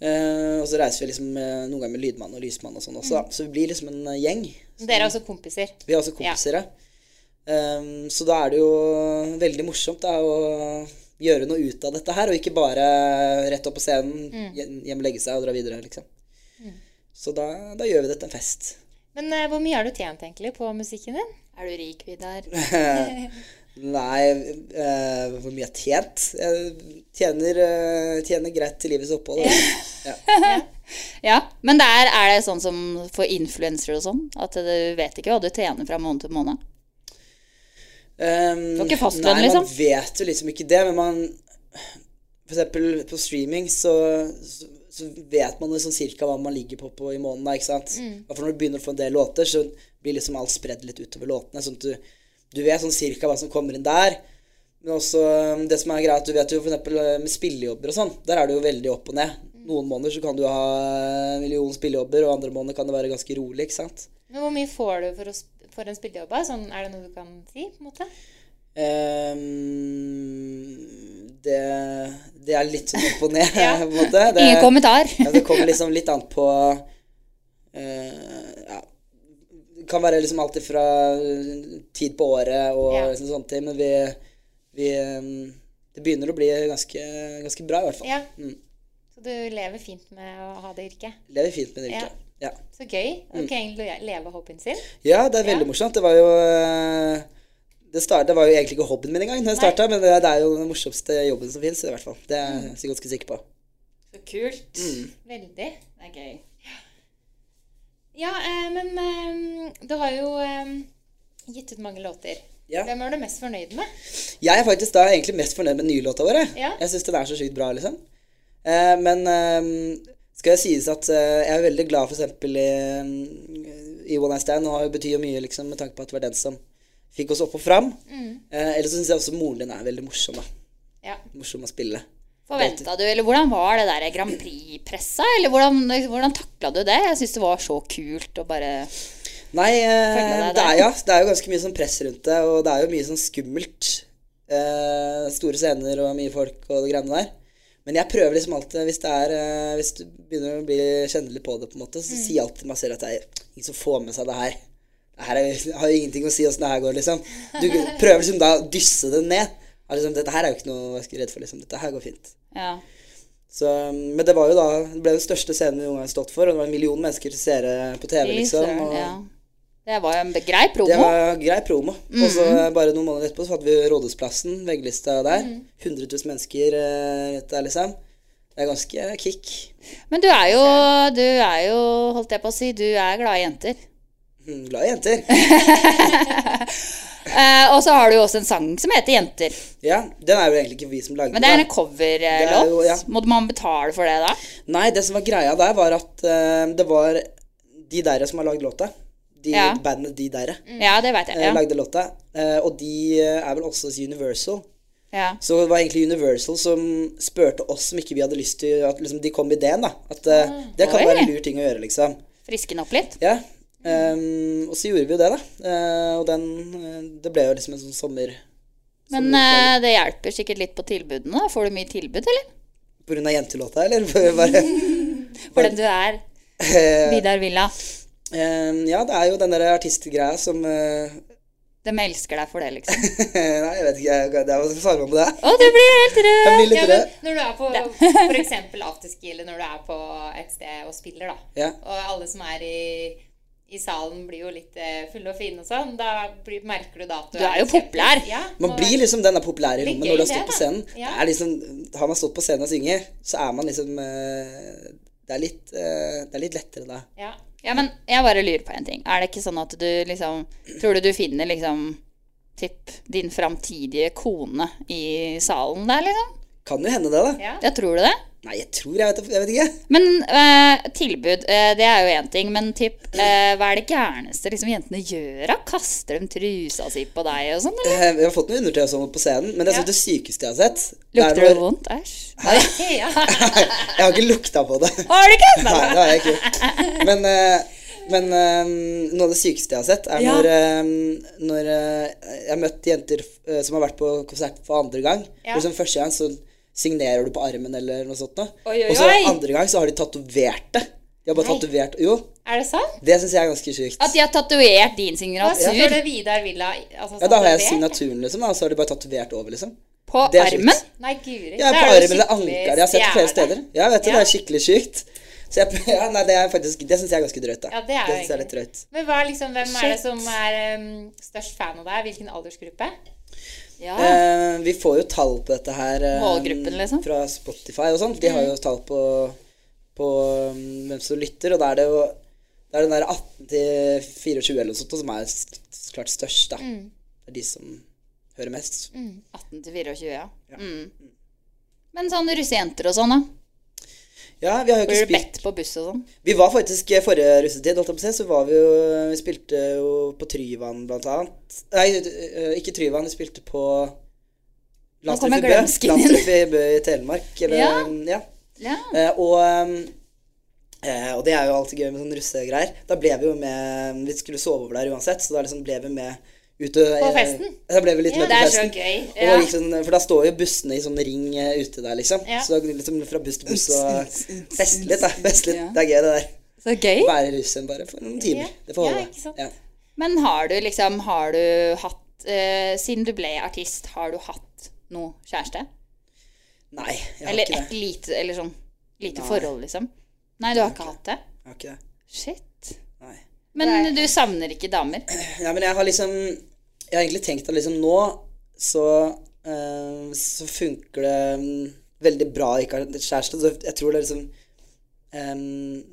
[SPEAKER 4] eh, og så reiser vi liksom eh, noen ganger med lydmann og lysmann og sånn også,
[SPEAKER 2] Mm.
[SPEAKER 4] da. Så vi blir liksom en eh, gjeng.
[SPEAKER 2] Dere er også kompiser.
[SPEAKER 4] Vi er også kompiser, ja. Ehm, så da er det jo veldig morsomt da, å gjøre noe ut av dette her, og ikke bare rett opp på scenen, hjem- hjem legge seg og dra videre, liksom. Så da, da gjør vi det til en fest.
[SPEAKER 2] Men eh, hvor mye har du tjent egentlig på musikken din?
[SPEAKER 3] Er du rik, Vidar?
[SPEAKER 4] Nei, eh, hvor mye jeg har tjent? Jeg tjener, eh, tjener greit til livets opphold. da.
[SPEAKER 3] Ja, men der er det sånn som for influensere og sånn, at du vet ikke hva du tjener fra måned til måned.
[SPEAKER 4] Um,
[SPEAKER 3] Du har ikke fastlønn,
[SPEAKER 4] Nei,
[SPEAKER 3] liksom?
[SPEAKER 4] man vet jo liksom ikke det, men man For eksempel på streaming så, så, så vet man jo sånn cirka hva man ligger på, på i måneden, da, ikke sant?
[SPEAKER 3] Mm.
[SPEAKER 4] Hvertfall når du begynner å få en del låter, så blir liksom alt spredd litt utover låtene. Sånn at du, du vet sånn cirka hva som kommer inn der. uh,
[SPEAKER 3] Mm.
[SPEAKER 4] Men også um, det som er greit, du vet jo for eksempel eh, med spillejobber og sånn, der er det jo veldig opp og ned. Noen måneder så kan du ha en million spillejobber, og andre måneder kan det være ganske rolig. ikke sant?
[SPEAKER 2] Men hvor mye får du for, å, sp- for en spillejobb? da? Sånn, er det noe du kan si? på en måte?
[SPEAKER 4] Ehm, det, det er litt sånn opp og ned,
[SPEAKER 2] Ja.
[SPEAKER 4] på en måte. Det,
[SPEAKER 3] Ingen kommentar.
[SPEAKER 4] ja, det kommer liksom litt an på eh, ja, Det kan være liksom alt fra tid på året og
[SPEAKER 2] Ja.
[SPEAKER 4] liksom sånne ting, men vi, vi ehm, Det begynner å bli ganske, ganske bra, i hvert fall.
[SPEAKER 2] Ja.
[SPEAKER 4] Mm.
[SPEAKER 2] Så du lever fint med å ha det yrket?
[SPEAKER 4] Lever fint med det yrket. Ja.
[SPEAKER 2] Så gøy.
[SPEAKER 3] Mm.
[SPEAKER 2] Ok, le- leve hobbyen sin.
[SPEAKER 4] Ja, det er veldig morsomt. Det var jo eh, det, start, det var jo egentlig ikke hobbyen min engang, når jeg starta, men det, det er jo den morsomste jobben som fins. Det er jeg så ganske sikker på.
[SPEAKER 3] Så kult.
[SPEAKER 2] Mm. Veldig.
[SPEAKER 3] Det er gøy.
[SPEAKER 2] Ja, eh, men eh, du har jo eh, gitt ut mange låter.
[SPEAKER 4] Ja.
[SPEAKER 2] Hvem er du mest fornøyd med?
[SPEAKER 4] Jeg er faktisk da egentlig mest fornøyd med den nye låta vår. jeg.
[SPEAKER 2] Ja.
[SPEAKER 4] Jeg syns den er så sykt bra, liksom. Eh, men eh, skal jeg sies at eh, jeg er veldig glad for eksempel i, eh, i One Night Stand, og har jo betyr jo mye liksom, med tanke på at det var den som fikk oss opp og fram. Eh, ellers så syns jeg også moren din er veldig morsom, da.
[SPEAKER 2] Ja.
[SPEAKER 4] Morsom å spille.
[SPEAKER 3] Forventa du, eller hvordan var det der Grand Prix-pressa? Eller hvordan, hvordan takla du det? Jeg syns det var så kult å bare
[SPEAKER 4] Nei, eh,
[SPEAKER 3] Følge deg
[SPEAKER 4] det, er,
[SPEAKER 3] der.
[SPEAKER 4] ja, det er jo ganske mye sånn press rundt det, og det er jo mye sånn skummelt. Eh, store scener og mye folk og det greiene der. Men jeg prøver liksom alltid, hvis, det er, eh, hvis du begynner å bli kjenne litt på det, på en måte, så
[SPEAKER 3] Mm.
[SPEAKER 4] sier jeg alltid til meg selv at det er ingen som får med seg det her. Det her er, har jo ingenting å si åssen det her går, liksom. Du prøver liksom da å dysse det ned. Er Liksom, dette her er jo ikke noe jeg er redd for, liksom. Dette her går fint.
[SPEAKER 3] Ja.
[SPEAKER 4] Så, men det var jo da, det ble den største scenen vi noen gang har stått for, og det var en million mennesker til seere på TV,
[SPEAKER 3] Fy
[SPEAKER 4] liksom.
[SPEAKER 3] søren,
[SPEAKER 4] Og,
[SPEAKER 3] ja. Det var jo en grei
[SPEAKER 4] det
[SPEAKER 3] promo. Mhm.
[SPEAKER 4] var grei promo. Og så bare noen måneder etterpå så hadde vi Rådhusplassen, vegglista der. 100 000 mennesker eh, rett der, liksom. Det er ganske kick.
[SPEAKER 3] Men du er jo, du er jo, holdt jeg på å si, du er glad i jenter.
[SPEAKER 4] Mm, Glad i jenter.
[SPEAKER 3] Eh, og så har du jo også en sang som heter 'Jenter'.
[SPEAKER 4] Ja, den er jo egentlig ikke vi som lagde
[SPEAKER 3] Men det er en
[SPEAKER 4] den. Det er jo-
[SPEAKER 3] coverlåt.
[SPEAKER 4] ja.
[SPEAKER 3] Må man betale for det da?
[SPEAKER 4] Nei, det som var greia der, var at eh, det var de der som har lagd låta. De
[SPEAKER 3] Ja.
[SPEAKER 4] bandet De der
[SPEAKER 3] Ja, det veit jeg.
[SPEAKER 4] eh,
[SPEAKER 3] Ja.
[SPEAKER 4] lagde låta. Eh, og de eh, er vel også Universal.
[SPEAKER 3] Ja.
[SPEAKER 4] Så det var egentlig Universal som spurte oss om ikke vi hadde lyst til at liksom, de kom med ideen, da. At eh, det kan
[SPEAKER 3] Ah, Oi.
[SPEAKER 4] være en lur ting å gjøre, liksom.
[SPEAKER 3] Friske den opp litt.
[SPEAKER 4] Ja. ehm, og så gjorde vi jo det, da. Eh, og den eh, Det ble jo liksom en sånn sommer
[SPEAKER 3] Men eh, det hjelper sikkert litt på tilbudene. da. Får du mye tilbud, eller?
[SPEAKER 4] På grunn av jentelåta, eller? Bare,
[SPEAKER 3] For den du er. Vidar Villa.
[SPEAKER 4] Ehm, ja, det er jo den der artistgreia som eh,
[SPEAKER 3] De elsker deg for det, liksom.
[SPEAKER 4] Nei, jeg vet ikke, jeg, det er hva som svarer meg på det.
[SPEAKER 3] Å, du blir helt rød!
[SPEAKER 4] Jeg blir litt
[SPEAKER 2] Ja, men
[SPEAKER 4] rød.
[SPEAKER 2] når du er på for eksempel afterski, eller når du er på et sted og spiller, da.
[SPEAKER 4] Ja.
[SPEAKER 2] Og alle som er i, i salen blir jo litt eh, fulle og fine og sånn. Da blir, merker du da at du,
[SPEAKER 3] Du er jo populær.
[SPEAKER 2] Ja,
[SPEAKER 4] Man
[SPEAKER 2] må
[SPEAKER 4] blir
[SPEAKER 2] være-
[SPEAKER 4] liksom den der populære i
[SPEAKER 2] Litt
[SPEAKER 4] rommet
[SPEAKER 2] gøy
[SPEAKER 4] når du har
[SPEAKER 2] det,
[SPEAKER 4] stått
[SPEAKER 2] da.
[SPEAKER 4] på scenen.
[SPEAKER 2] Ja.
[SPEAKER 4] Det er liksom, har man stått på scenen og synge, så er man liksom eh, det, er litt, eh, det er litt lettere da.
[SPEAKER 2] ja.
[SPEAKER 3] Ja, men jeg bare lurer på en ting. Er det ikke sånn at du liksom Tror du du finner liksom Tipp din framtidige kone i salen der, liksom?
[SPEAKER 4] Kan jo hende det, da.
[SPEAKER 2] Ja.
[SPEAKER 3] Ja, tror du det?
[SPEAKER 4] Nei, jeg tror jeg vet, jeg vet ikke.
[SPEAKER 3] Men eh, tilbud, eh, det er jo én ting. Men tipp, eh, hva er det gærneste liksom, jentene gjør? da? Kaster de trusa si på deg og sånn? eller?
[SPEAKER 4] Eh, Vi har fått noe undertøy og sånn på scenen, men det er sånn det sykeste jeg har sett. Det er
[SPEAKER 3] Lukter det
[SPEAKER 4] når-
[SPEAKER 3] vondt? Æsj.
[SPEAKER 2] ja.
[SPEAKER 4] Jeg har ikke lukta på det.
[SPEAKER 3] Har du ikke?
[SPEAKER 4] Nei, det har jeg ikke. Men, eh, men eh, noe av det sykeste jeg har sett, er
[SPEAKER 3] Ja.
[SPEAKER 4] når, eh, når eh, jeg har møtt jenter eh, som har vært på konsert for andre gang. Og Liksom første gang så signerer du på armen eller noe sånt. Da.
[SPEAKER 3] Oi, oi,
[SPEAKER 4] og så
[SPEAKER 3] oi.
[SPEAKER 4] andre gang så har de tatovert det. De har bare tatovert Jo,
[SPEAKER 2] Er det sant?
[SPEAKER 4] det syns jeg er ganske sykt.
[SPEAKER 3] At de har tatovert din
[SPEAKER 2] Da
[SPEAKER 3] signatur
[SPEAKER 2] står det Vidar Villa altså,
[SPEAKER 4] Ja, da har jeg
[SPEAKER 2] tatovert.
[SPEAKER 4] signaturen, liksom, da, og så har de bare tatovert over, liksom.
[SPEAKER 3] på
[SPEAKER 4] Det er sykt.
[SPEAKER 3] armen?
[SPEAKER 2] Nei, guri. da
[SPEAKER 4] Ja,
[SPEAKER 2] er du
[SPEAKER 4] på armen eller
[SPEAKER 2] skikkelig
[SPEAKER 4] ankeret. Jeg har sett det flere
[SPEAKER 2] stjerne.
[SPEAKER 4] steder. Ja, vet du,
[SPEAKER 2] Ja.
[SPEAKER 4] Det er skikkelig sykt. Så jeg, ja, nei, det er faktisk Det syns jeg er ganske drøyt, da.
[SPEAKER 2] Ja, det er jo
[SPEAKER 4] synes jeg er litt
[SPEAKER 2] egentlig-
[SPEAKER 4] drøyt.
[SPEAKER 2] Men hva, er liksom, hvem er det
[SPEAKER 3] Shit.
[SPEAKER 2] som er um, størst fan av deg? Hvilken aldersgruppe? Ah.
[SPEAKER 3] Ja.
[SPEAKER 4] Eh, vi får jo tall på dette her eh,
[SPEAKER 3] Målgruppen, liksom.
[SPEAKER 4] fra Spotify og sånt. De har
[SPEAKER 2] Mm.
[SPEAKER 4] jo tall på, på mm, hvem som lytter, og da er det jo det er den der 18 til 24 eller noe sånt som er s- s- klart størst, da.
[SPEAKER 2] Mm.
[SPEAKER 4] Det er de som hører mest.
[SPEAKER 3] 18 til 24, ja. Mm. Men sånn russejenter og sånn, da?
[SPEAKER 4] Ja, vi har jo ikke
[SPEAKER 3] Blir du
[SPEAKER 4] spilt
[SPEAKER 3] bedt på buss og sånn?
[SPEAKER 4] Vi var faktisk eh, forrige russetid, holdt jeg på å si, så var vi jo eh, Vi spilte jo på Tryvann, blant annet. Nei, eh, ikke Tryvann, vi spilte på
[SPEAKER 3] kommer
[SPEAKER 4] Landstreff i Bø.
[SPEAKER 3] glømsken inn.
[SPEAKER 4] Landstreff i Bø i Telemark. Eller,
[SPEAKER 3] Ja.
[SPEAKER 4] ja.
[SPEAKER 3] Ja.
[SPEAKER 4] Eh, og, ehm, eh, og det er jo alltid gøy med sånne russegreier. Da ble vi jo med Vi skulle sove over der uansett, så da liksom ble vi med ut og,
[SPEAKER 2] På festen?
[SPEAKER 4] eh, Da ble vi litt
[SPEAKER 2] Ja,
[SPEAKER 4] med
[SPEAKER 2] det
[SPEAKER 4] på
[SPEAKER 2] er så
[SPEAKER 4] festen.
[SPEAKER 2] gøy,
[SPEAKER 4] Og
[SPEAKER 2] ja.
[SPEAKER 4] gikk sånn, for da står jo bussene i sånn ring eh, ute der, liksom.
[SPEAKER 2] Ja.
[SPEAKER 4] Så da går vi liksom fra buss til buss og
[SPEAKER 5] Uts, uts, uts,
[SPEAKER 4] feste litt, da.
[SPEAKER 5] uts,
[SPEAKER 4] Feste litt.
[SPEAKER 5] ja.
[SPEAKER 4] Det er gøy, det der.
[SPEAKER 5] Så gøy.
[SPEAKER 4] Være russ igjen bare for noen timer.
[SPEAKER 2] Ja.
[SPEAKER 4] Det får
[SPEAKER 2] Ja,
[SPEAKER 4] holde.
[SPEAKER 2] ikke sant.
[SPEAKER 4] Ja.
[SPEAKER 3] Men har du liksom Har du hatt eh, Siden du ble artist, har du hatt noe kjæreste?
[SPEAKER 4] Nei, jeg har
[SPEAKER 3] Eller
[SPEAKER 4] ikke
[SPEAKER 3] et
[SPEAKER 4] det.
[SPEAKER 3] lite Eller sånn lite
[SPEAKER 4] Nei.
[SPEAKER 3] forhold, liksom? Nei, du har ikke hatt det?
[SPEAKER 4] Jeg har ikke det.
[SPEAKER 3] Shit.
[SPEAKER 4] Nei.
[SPEAKER 3] Men du savner ikke damer?
[SPEAKER 4] Ja, men jeg har liksom Jeg har egentlig tenkt at liksom nå så, eh, så funker det mm, veldig bra å ikke ha en kjæreste. Så jeg tror det er liksom eh,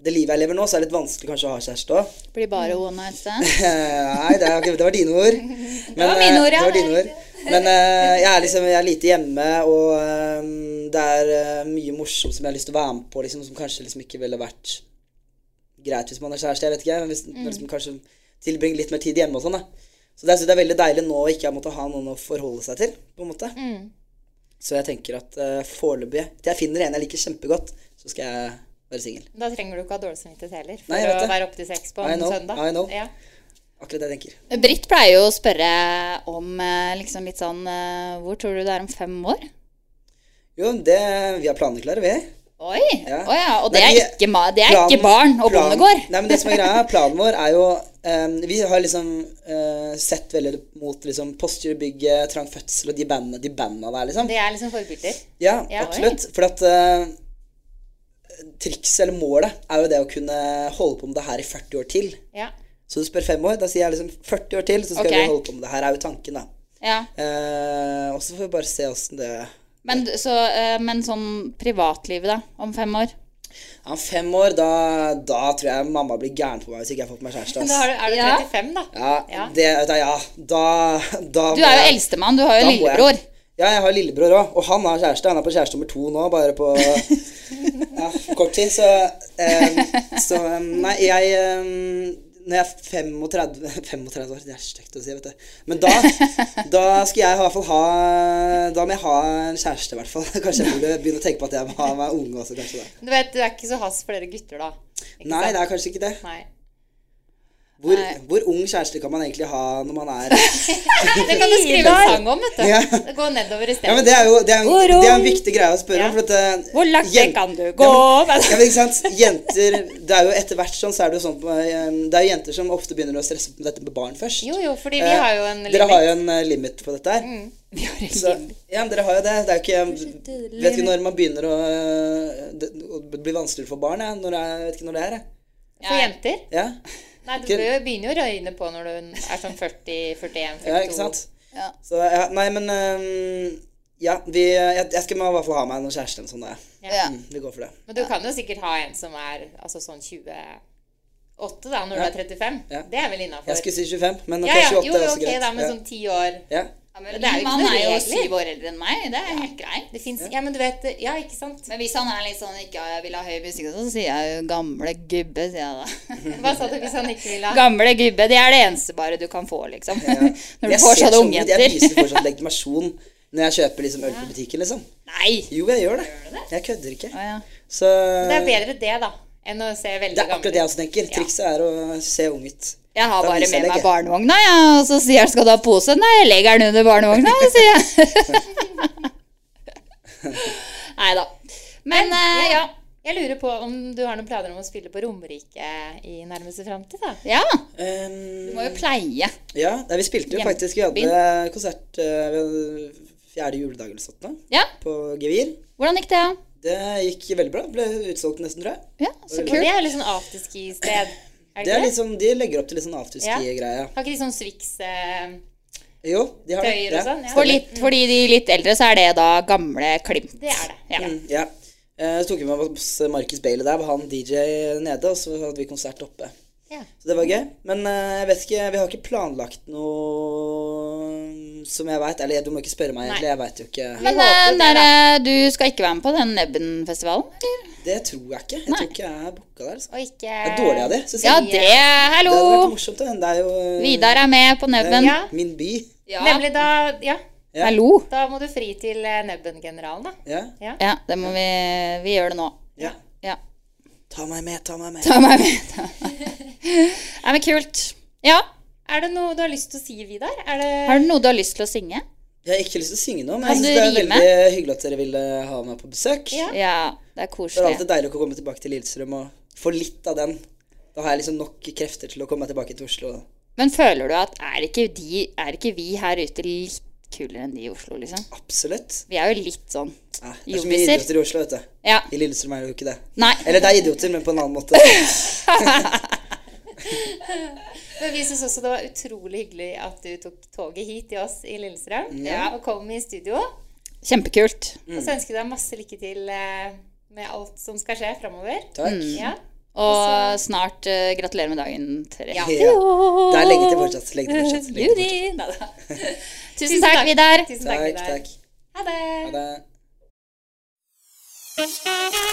[SPEAKER 4] Det livet jeg lever nå, så er det litt vanskelig kanskje å ha kjæreste òg.
[SPEAKER 3] Blir
[SPEAKER 4] Mm.
[SPEAKER 3] bare one night stand?
[SPEAKER 4] Eh, Nei, det, er, ikke- det var dine ord. Men,
[SPEAKER 3] var mine
[SPEAKER 4] eh,
[SPEAKER 3] ord, ja.
[SPEAKER 4] det var dine ord. Men eh, jeg, er liksom, jeg er lite hjemme, og eh, det er eh, mye morsomt som jeg har lyst til å være med på, liksom, som kanskje liksom ikke ville vært greit hvis man er kjæreste. Jeg vet ikke, men hvis
[SPEAKER 3] Mm.
[SPEAKER 4] man liksom, kanskje tilbringer litt mer tid hjemme og sånn. Da. Så det, er- så det er veldig deilig nå å ikke ha måttet ha noen å forholde seg til, på en måte.
[SPEAKER 3] Mm.
[SPEAKER 4] Så jeg tenker at uh, foreløpig, til jeg finner en jeg liker kjempegodt, så skal jeg være singel.
[SPEAKER 2] Da trenger du ikke ha dårlig samvittighet heller. For
[SPEAKER 4] Nei, jeg vet
[SPEAKER 2] å
[SPEAKER 4] det.
[SPEAKER 2] være opp til seks på
[SPEAKER 4] I
[SPEAKER 2] en
[SPEAKER 4] know,
[SPEAKER 2] søndag.
[SPEAKER 4] I know.
[SPEAKER 2] Ja.
[SPEAKER 4] Akkurat det jeg tenker.
[SPEAKER 3] Britt pleier jo å spørre om eh, liksom litt sånn eh, Hvor tror du det er om fem år?
[SPEAKER 4] Jo, det, vi er planeklare, vi.
[SPEAKER 3] Oi!
[SPEAKER 4] Ja.
[SPEAKER 3] Å ja. Og det
[SPEAKER 4] Men
[SPEAKER 3] er
[SPEAKER 4] vi-
[SPEAKER 3] ikke, ma det er
[SPEAKER 4] planen-
[SPEAKER 3] ikke barn og
[SPEAKER 4] planen-
[SPEAKER 3] bondegård.
[SPEAKER 4] Nei, men det som er greia, planen vår er jo ehm, Vi har liksom eh, sett veldig mot liksom Posturebygget, Trang fødsel og de bandene, de bandene der, liksom.
[SPEAKER 2] Det er liksom forbilder.
[SPEAKER 4] Ja,
[SPEAKER 2] Ja,
[SPEAKER 4] absolutt. For at eh, trikset, eller målet, er jo det å kunne holde på med det her i 40 år til.
[SPEAKER 2] Ja.
[SPEAKER 4] Så du spør fem år, da sier jeg liksom 40 år til, så skal
[SPEAKER 3] Ok.
[SPEAKER 4] vi holde på med det her, er jo tanken, da.
[SPEAKER 3] Ja.
[SPEAKER 4] Eh, og så får vi bare se åssen det Ja,
[SPEAKER 3] Men, så, eh, men sånn privatlivet, da? Om fem år?
[SPEAKER 4] om fem år, da, da tror jeg mamma blir gæren på meg hvis ikke jeg får på meg kjæreste. ass.
[SPEAKER 2] Da har du, er du
[SPEAKER 3] Ja.
[SPEAKER 2] 35, da.
[SPEAKER 4] Ja,
[SPEAKER 2] Ja.
[SPEAKER 4] det vet jeg, ja. Da, da
[SPEAKER 3] Du er jo eldstemann, du har jo lillebror.
[SPEAKER 4] Ja, jeg har lillebror òg, og han har kjæreste. Han er på kjæreste nummer to nå, bare på ja, kort tid. Så, eh, så eh, Nei, jeg eh, Når jeg er 35 35 år, det er stygt å si, vet du. Men da, da skal jeg i hvert fall ha Da må jeg ha en kjæreste, i hvert fall. Kanskje jeg burde begynne å tenke på at jeg må ha meg unge også, kanskje. Da.
[SPEAKER 2] Du vet, du er ikke så hass for dere gutter, da. Ikke
[SPEAKER 4] Nei,
[SPEAKER 2] sant?
[SPEAKER 4] det er kanskje ikke det.
[SPEAKER 2] Nei.
[SPEAKER 4] Hvor, hvor ung kjæreste kan man egentlig ha når man er
[SPEAKER 2] Det kan du skrive en sang om, vet du.
[SPEAKER 4] Ja.
[SPEAKER 2] Det går nedover i
[SPEAKER 4] Ja,
[SPEAKER 2] stedet.
[SPEAKER 4] men Det er jo det er,
[SPEAKER 2] Hvor
[SPEAKER 4] en- det er en
[SPEAKER 2] ung?
[SPEAKER 4] viktig greie å spørre
[SPEAKER 2] Ja.
[SPEAKER 4] om. For at, eh,
[SPEAKER 2] Hvor langt
[SPEAKER 4] jen-
[SPEAKER 2] vekk kan du
[SPEAKER 4] Ja,
[SPEAKER 2] gå?
[SPEAKER 4] men- Ja, men ikke sant? Jenter Det er jo etter hvert sånn, så er det jo sånn på, eh, Det er jo jenter som ofte begynner å stresse med dette med barn først.
[SPEAKER 2] Jo, jo, fordi vi
[SPEAKER 4] Eh,
[SPEAKER 2] har jo en
[SPEAKER 4] Dere har
[SPEAKER 2] limit. Mm,
[SPEAKER 4] jo en eh, limit på dette her. Så, ja, men dere har jo det. Det er jo ikke Vet ikke når man begynner å eh, Det det blir vanskeligere for barn, jeg. Når det er- jeg vet ikke når det er, jeg.
[SPEAKER 2] For jenter.
[SPEAKER 4] Ja.
[SPEAKER 2] Nei, du bør jo- begynner jo å røyne på når du er sånn 40, 41, 42.
[SPEAKER 4] ja, ikke sant? Så ja, Nei, men eh, Ja, vi eh, Jeg, jeg skal i hvert fall ha meg noen kjæreste eller sånn, da.
[SPEAKER 3] Ja.
[SPEAKER 4] Mm, Vi går for det.
[SPEAKER 2] Men du kan jo sikkert ha en som er altså sånn 28 da, når du
[SPEAKER 4] Ja.
[SPEAKER 2] er 35.
[SPEAKER 4] Ja.
[SPEAKER 2] Det er vel innafor.
[SPEAKER 4] Jeg skulle si 25, men
[SPEAKER 2] ja,
[SPEAKER 4] ok,
[SPEAKER 2] ja.
[SPEAKER 4] 28
[SPEAKER 2] Jo,
[SPEAKER 4] er
[SPEAKER 2] jo,
[SPEAKER 4] også
[SPEAKER 2] ok,
[SPEAKER 4] greit.
[SPEAKER 2] da, men
[SPEAKER 4] Ja.
[SPEAKER 2] sånn ti år
[SPEAKER 4] Ja.
[SPEAKER 3] Men
[SPEAKER 2] det er jo
[SPEAKER 3] Min
[SPEAKER 2] ikke
[SPEAKER 3] mann
[SPEAKER 2] noe
[SPEAKER 3] er jo
[SPEAKER 2] regler.
[SPEAKER 3] syv år eldre enn meg, det er helt greit.
[SPEAKER 2] Det fins Ja, men du vet Ja, ikke sant?
[SPEAKER 3] Men hvis han er litt sånn ikke vil ha høy musikk, og sånn, så sier jeg jo 'gamle gubbe', sier jeg da.
[SPEAKER 2] Hva sa du hvis han ikke ville ha
[SPEAKER 3] Gamle gubbe, det er det eneste bare du kan få, liksom. Når du
[SPEAKER 4] Jeg
[SPEAKER 3] får
[SPEAKER 4] ser
[SPEAKER 3] sånne
[SPEAKER 4] ut. Jeg viser sånn-
[SPEAKER 3] ungjenter.
[SPEAKER 4] fortsatt legitimasjon når jeg kjøper liksom øl på butikken, liksom.
[SPEAKER 3] Nei!
[SPEAKER 4] Jo, jeg gjør det. Jeg kødder ikke.
[SPEAKER 3] Å, ja.
[SPEAKER 4] Så
[SPEAKER 2] Det er bedre det, da, enn å se veldig
[SPEAKER 4] det er
[SPEAKER 2] gammel
[SPEAKER 4] akkurat det jeg også tenker. Trikset er å se ung ut.
[SPEAKER 3] Jeg har
[SPEAKER 4] Da
[SPEAKER 3] bare
[SPEAKER 4] viser
[SPEAKER 3] med
[SPEAKER 4] jeg
[SPEAKER 3] meg
[SPEAKER 4] legge.
[SPEAKER 3] barnevogna, ja. og så sier jeg 'skal du ha pose'? Nei, jeg legger den under barnevogna, sier jeg. Nei da. Men eh, ja.
[SPEAKER 2] Jeg lurer på om du har noen planer om å spille på Romerike i nærmeste framtid, da?
[SPEAKER 3] ja.
[SPEAKER 4] Ehm,
[SPEAKER 3] Du må jo pleie.
[SPEAKER 4] ja, nei, vi spilte jo faktisk Vi hadde konsert eh, ved fjerde juledag eller sånt da,
[SPEAKER 3] Ja.
[SPEAKER 4] på Gevir.
[SPEAKER 3] Hvordan gikk det?
[SPEAKER 4] Det gikk veldig bra. Ble utsolgt nesten, tror jeg.
[SPEAKER 3] Ja, så
[SPEAKER 2] For
[SPEAKER 3] kult.
[SPEAKER 2] det er jo litt sånn afterski-sted. Er
[SPEAKER 4] Det
[SPEAKER 2] det
[SPEAKER 4] er
[SPEAKER 2] ikke
[SPEAKER 4] litt
[SPEAKER 2] det?
[SPEAKER 4] sånn, de legger opp til litt sånn afterski-greie.
[SPEAKER 2] Har ikke de sånn Swix eh,
[SPEAKER 4] Jo, de har det.
[SPEAKER 2] Tøyer og
[SPEAKER 4] ja.
[SPEAKER 2] sånn, ja.
[SPEAKER 3] For litt, fordi de litt eldre, så er det da gamle Klimt.
[SPEAKER 2] Det er det.
[SPEAKER 3] Ja.
[SPEAKER 4] Mm, Ja. Eh, Så tok vi med oss Marcus Bailey der, var han DJ nede, og så hadde vi konsert oppe.
[SPEAKER 2] Ja.
[SPEAKER 4] Så det var gøy. Men eh, jeg vet ikke, vi har ikke planlagt noe som jeg veit. Eller du må ikke spørre meg, egentlig. Jeg veit jo ikke.
[SPEAKER 3] Men eh, der, eh, du skal ikke være med på den Nebben-festivalen? eller?
[SPEAKER 4] Det tror jeg ikke. Jeg tror ikke jeg er booka der. Altså.
[SPEAKER 2] Og ikke
[SPEAKER 4] Jeg er dårlig av det. Så
[SPEAKER 3] Ja,
[SPEAKER 4] sier jeg.
[SPEAKER 3] det
[SPEAKER 4] eh, det hadde vært
[SPEAKER 3] Hallo!
[SPEAKER 4] morsomt. da. Det er jo eh,
[SPEAKER 3] Vidar er med på
[SPEAKER 4] det er
[SPEAKER 3] Nebben.
[SPEAKER 2] Ja.
[SPEAKER 4] min by.
[SPEAKER 3] Ja.
[SPEAKER 2] Nemlig da Ja.
[SPEAKER 3] Hallo.
[SPEAKER 2] Da må du fri til eh, Nebben-generalen, da.
[SPEAKER 4] Ja?
[SPEAKER 3] Ja, det må vi Vi gjør det nå.
[SPEAKER 4] ja.
[SPEAKER 3] Ja.
[SPEAKER 4] Ta meg med, ta meg med.
[SPEAKER 3] Ta meg med. Ta meg. Nei, men kult. Ja.
[SPEAKER 2] Er det noe du har lyst til å si, Vidar? Er det...
[SPEAKER 3] Har du noe du har lyst til å synge?
[SPEAKER 4] Jeg har ikke lyst til å synge nå, men
[SPEAKER 3] Kan
[SPEAKER 4] jeg synes
[SPEAKER 3] du
[SPEAKER 4] det er
[SPEAKER 3] rime?
[SPEAKER 4] veldig hyggelig at dere ville ha meg på besøk.
[SPEAKER 2] Ja.
[SPEAKER 3] Ja, det er
[SPEAKER 4] Det er
[SPEAKER 3] koselig.
[SPEAKER 4] alltid deilig å komme tilbake til Lillestrøm og få litt av den. Da har jeg liksom nok krefter til å komme meg tilbake til Oslo.
[SPEAKER 3] Men føler du at er ikke, de, er ikke vi her ute litt kulere enn de i Oslo, liksom?
[SPEAKER 4] Absolutt.
[SPEAKER 3] Vi er jo litt sånn
[SPEAKER 4] Ja, det er så mye
[SPEAKER 3] Jobbiser.
[SPEAKER 4] idioter i Oslo, vet du.
[SPEAKER 3] Ja.
[SPEAKER 4] I Lillestrøm er det jo ikke det.
[SPEAKER 3] Nei. Mm.
[SPEAKER 4] Eller det er idioter, men på en annen måte.
[SPEAKER 2] Men vi syns også det var utrolig hyggelig at du tok toget hit til oss i Lillestrøm og kom i studio.
[SPEAKER 3] Kjempekult.
[SPEAKER 4] Mm.
[SPEAKER 2] Og så ønsker vi deg masse lykke til eh, med alt som skal skje framover.
[SPEAKER 4] Takk.
[SPEAKER 2] Ja.
[SPEAKER 3] Og snart eh, gratulerer med dagen tre.
[SPEAKER 4] Ja. Det er lenge til fortsatt. Lenge til fortsatt. Lenge til fortsatt.
[SPEAKER 3] Judy! Neida. Tusen takk, Vidar.
[SPEAKER 2] Tusen takk,
[SPEAKER 4] Takk,
[SPEAKER 2] Vidar.
[SPEAKER 4] takk.
[SPEAKER 2] Ha det.
[SPEAKER 4] Ha det.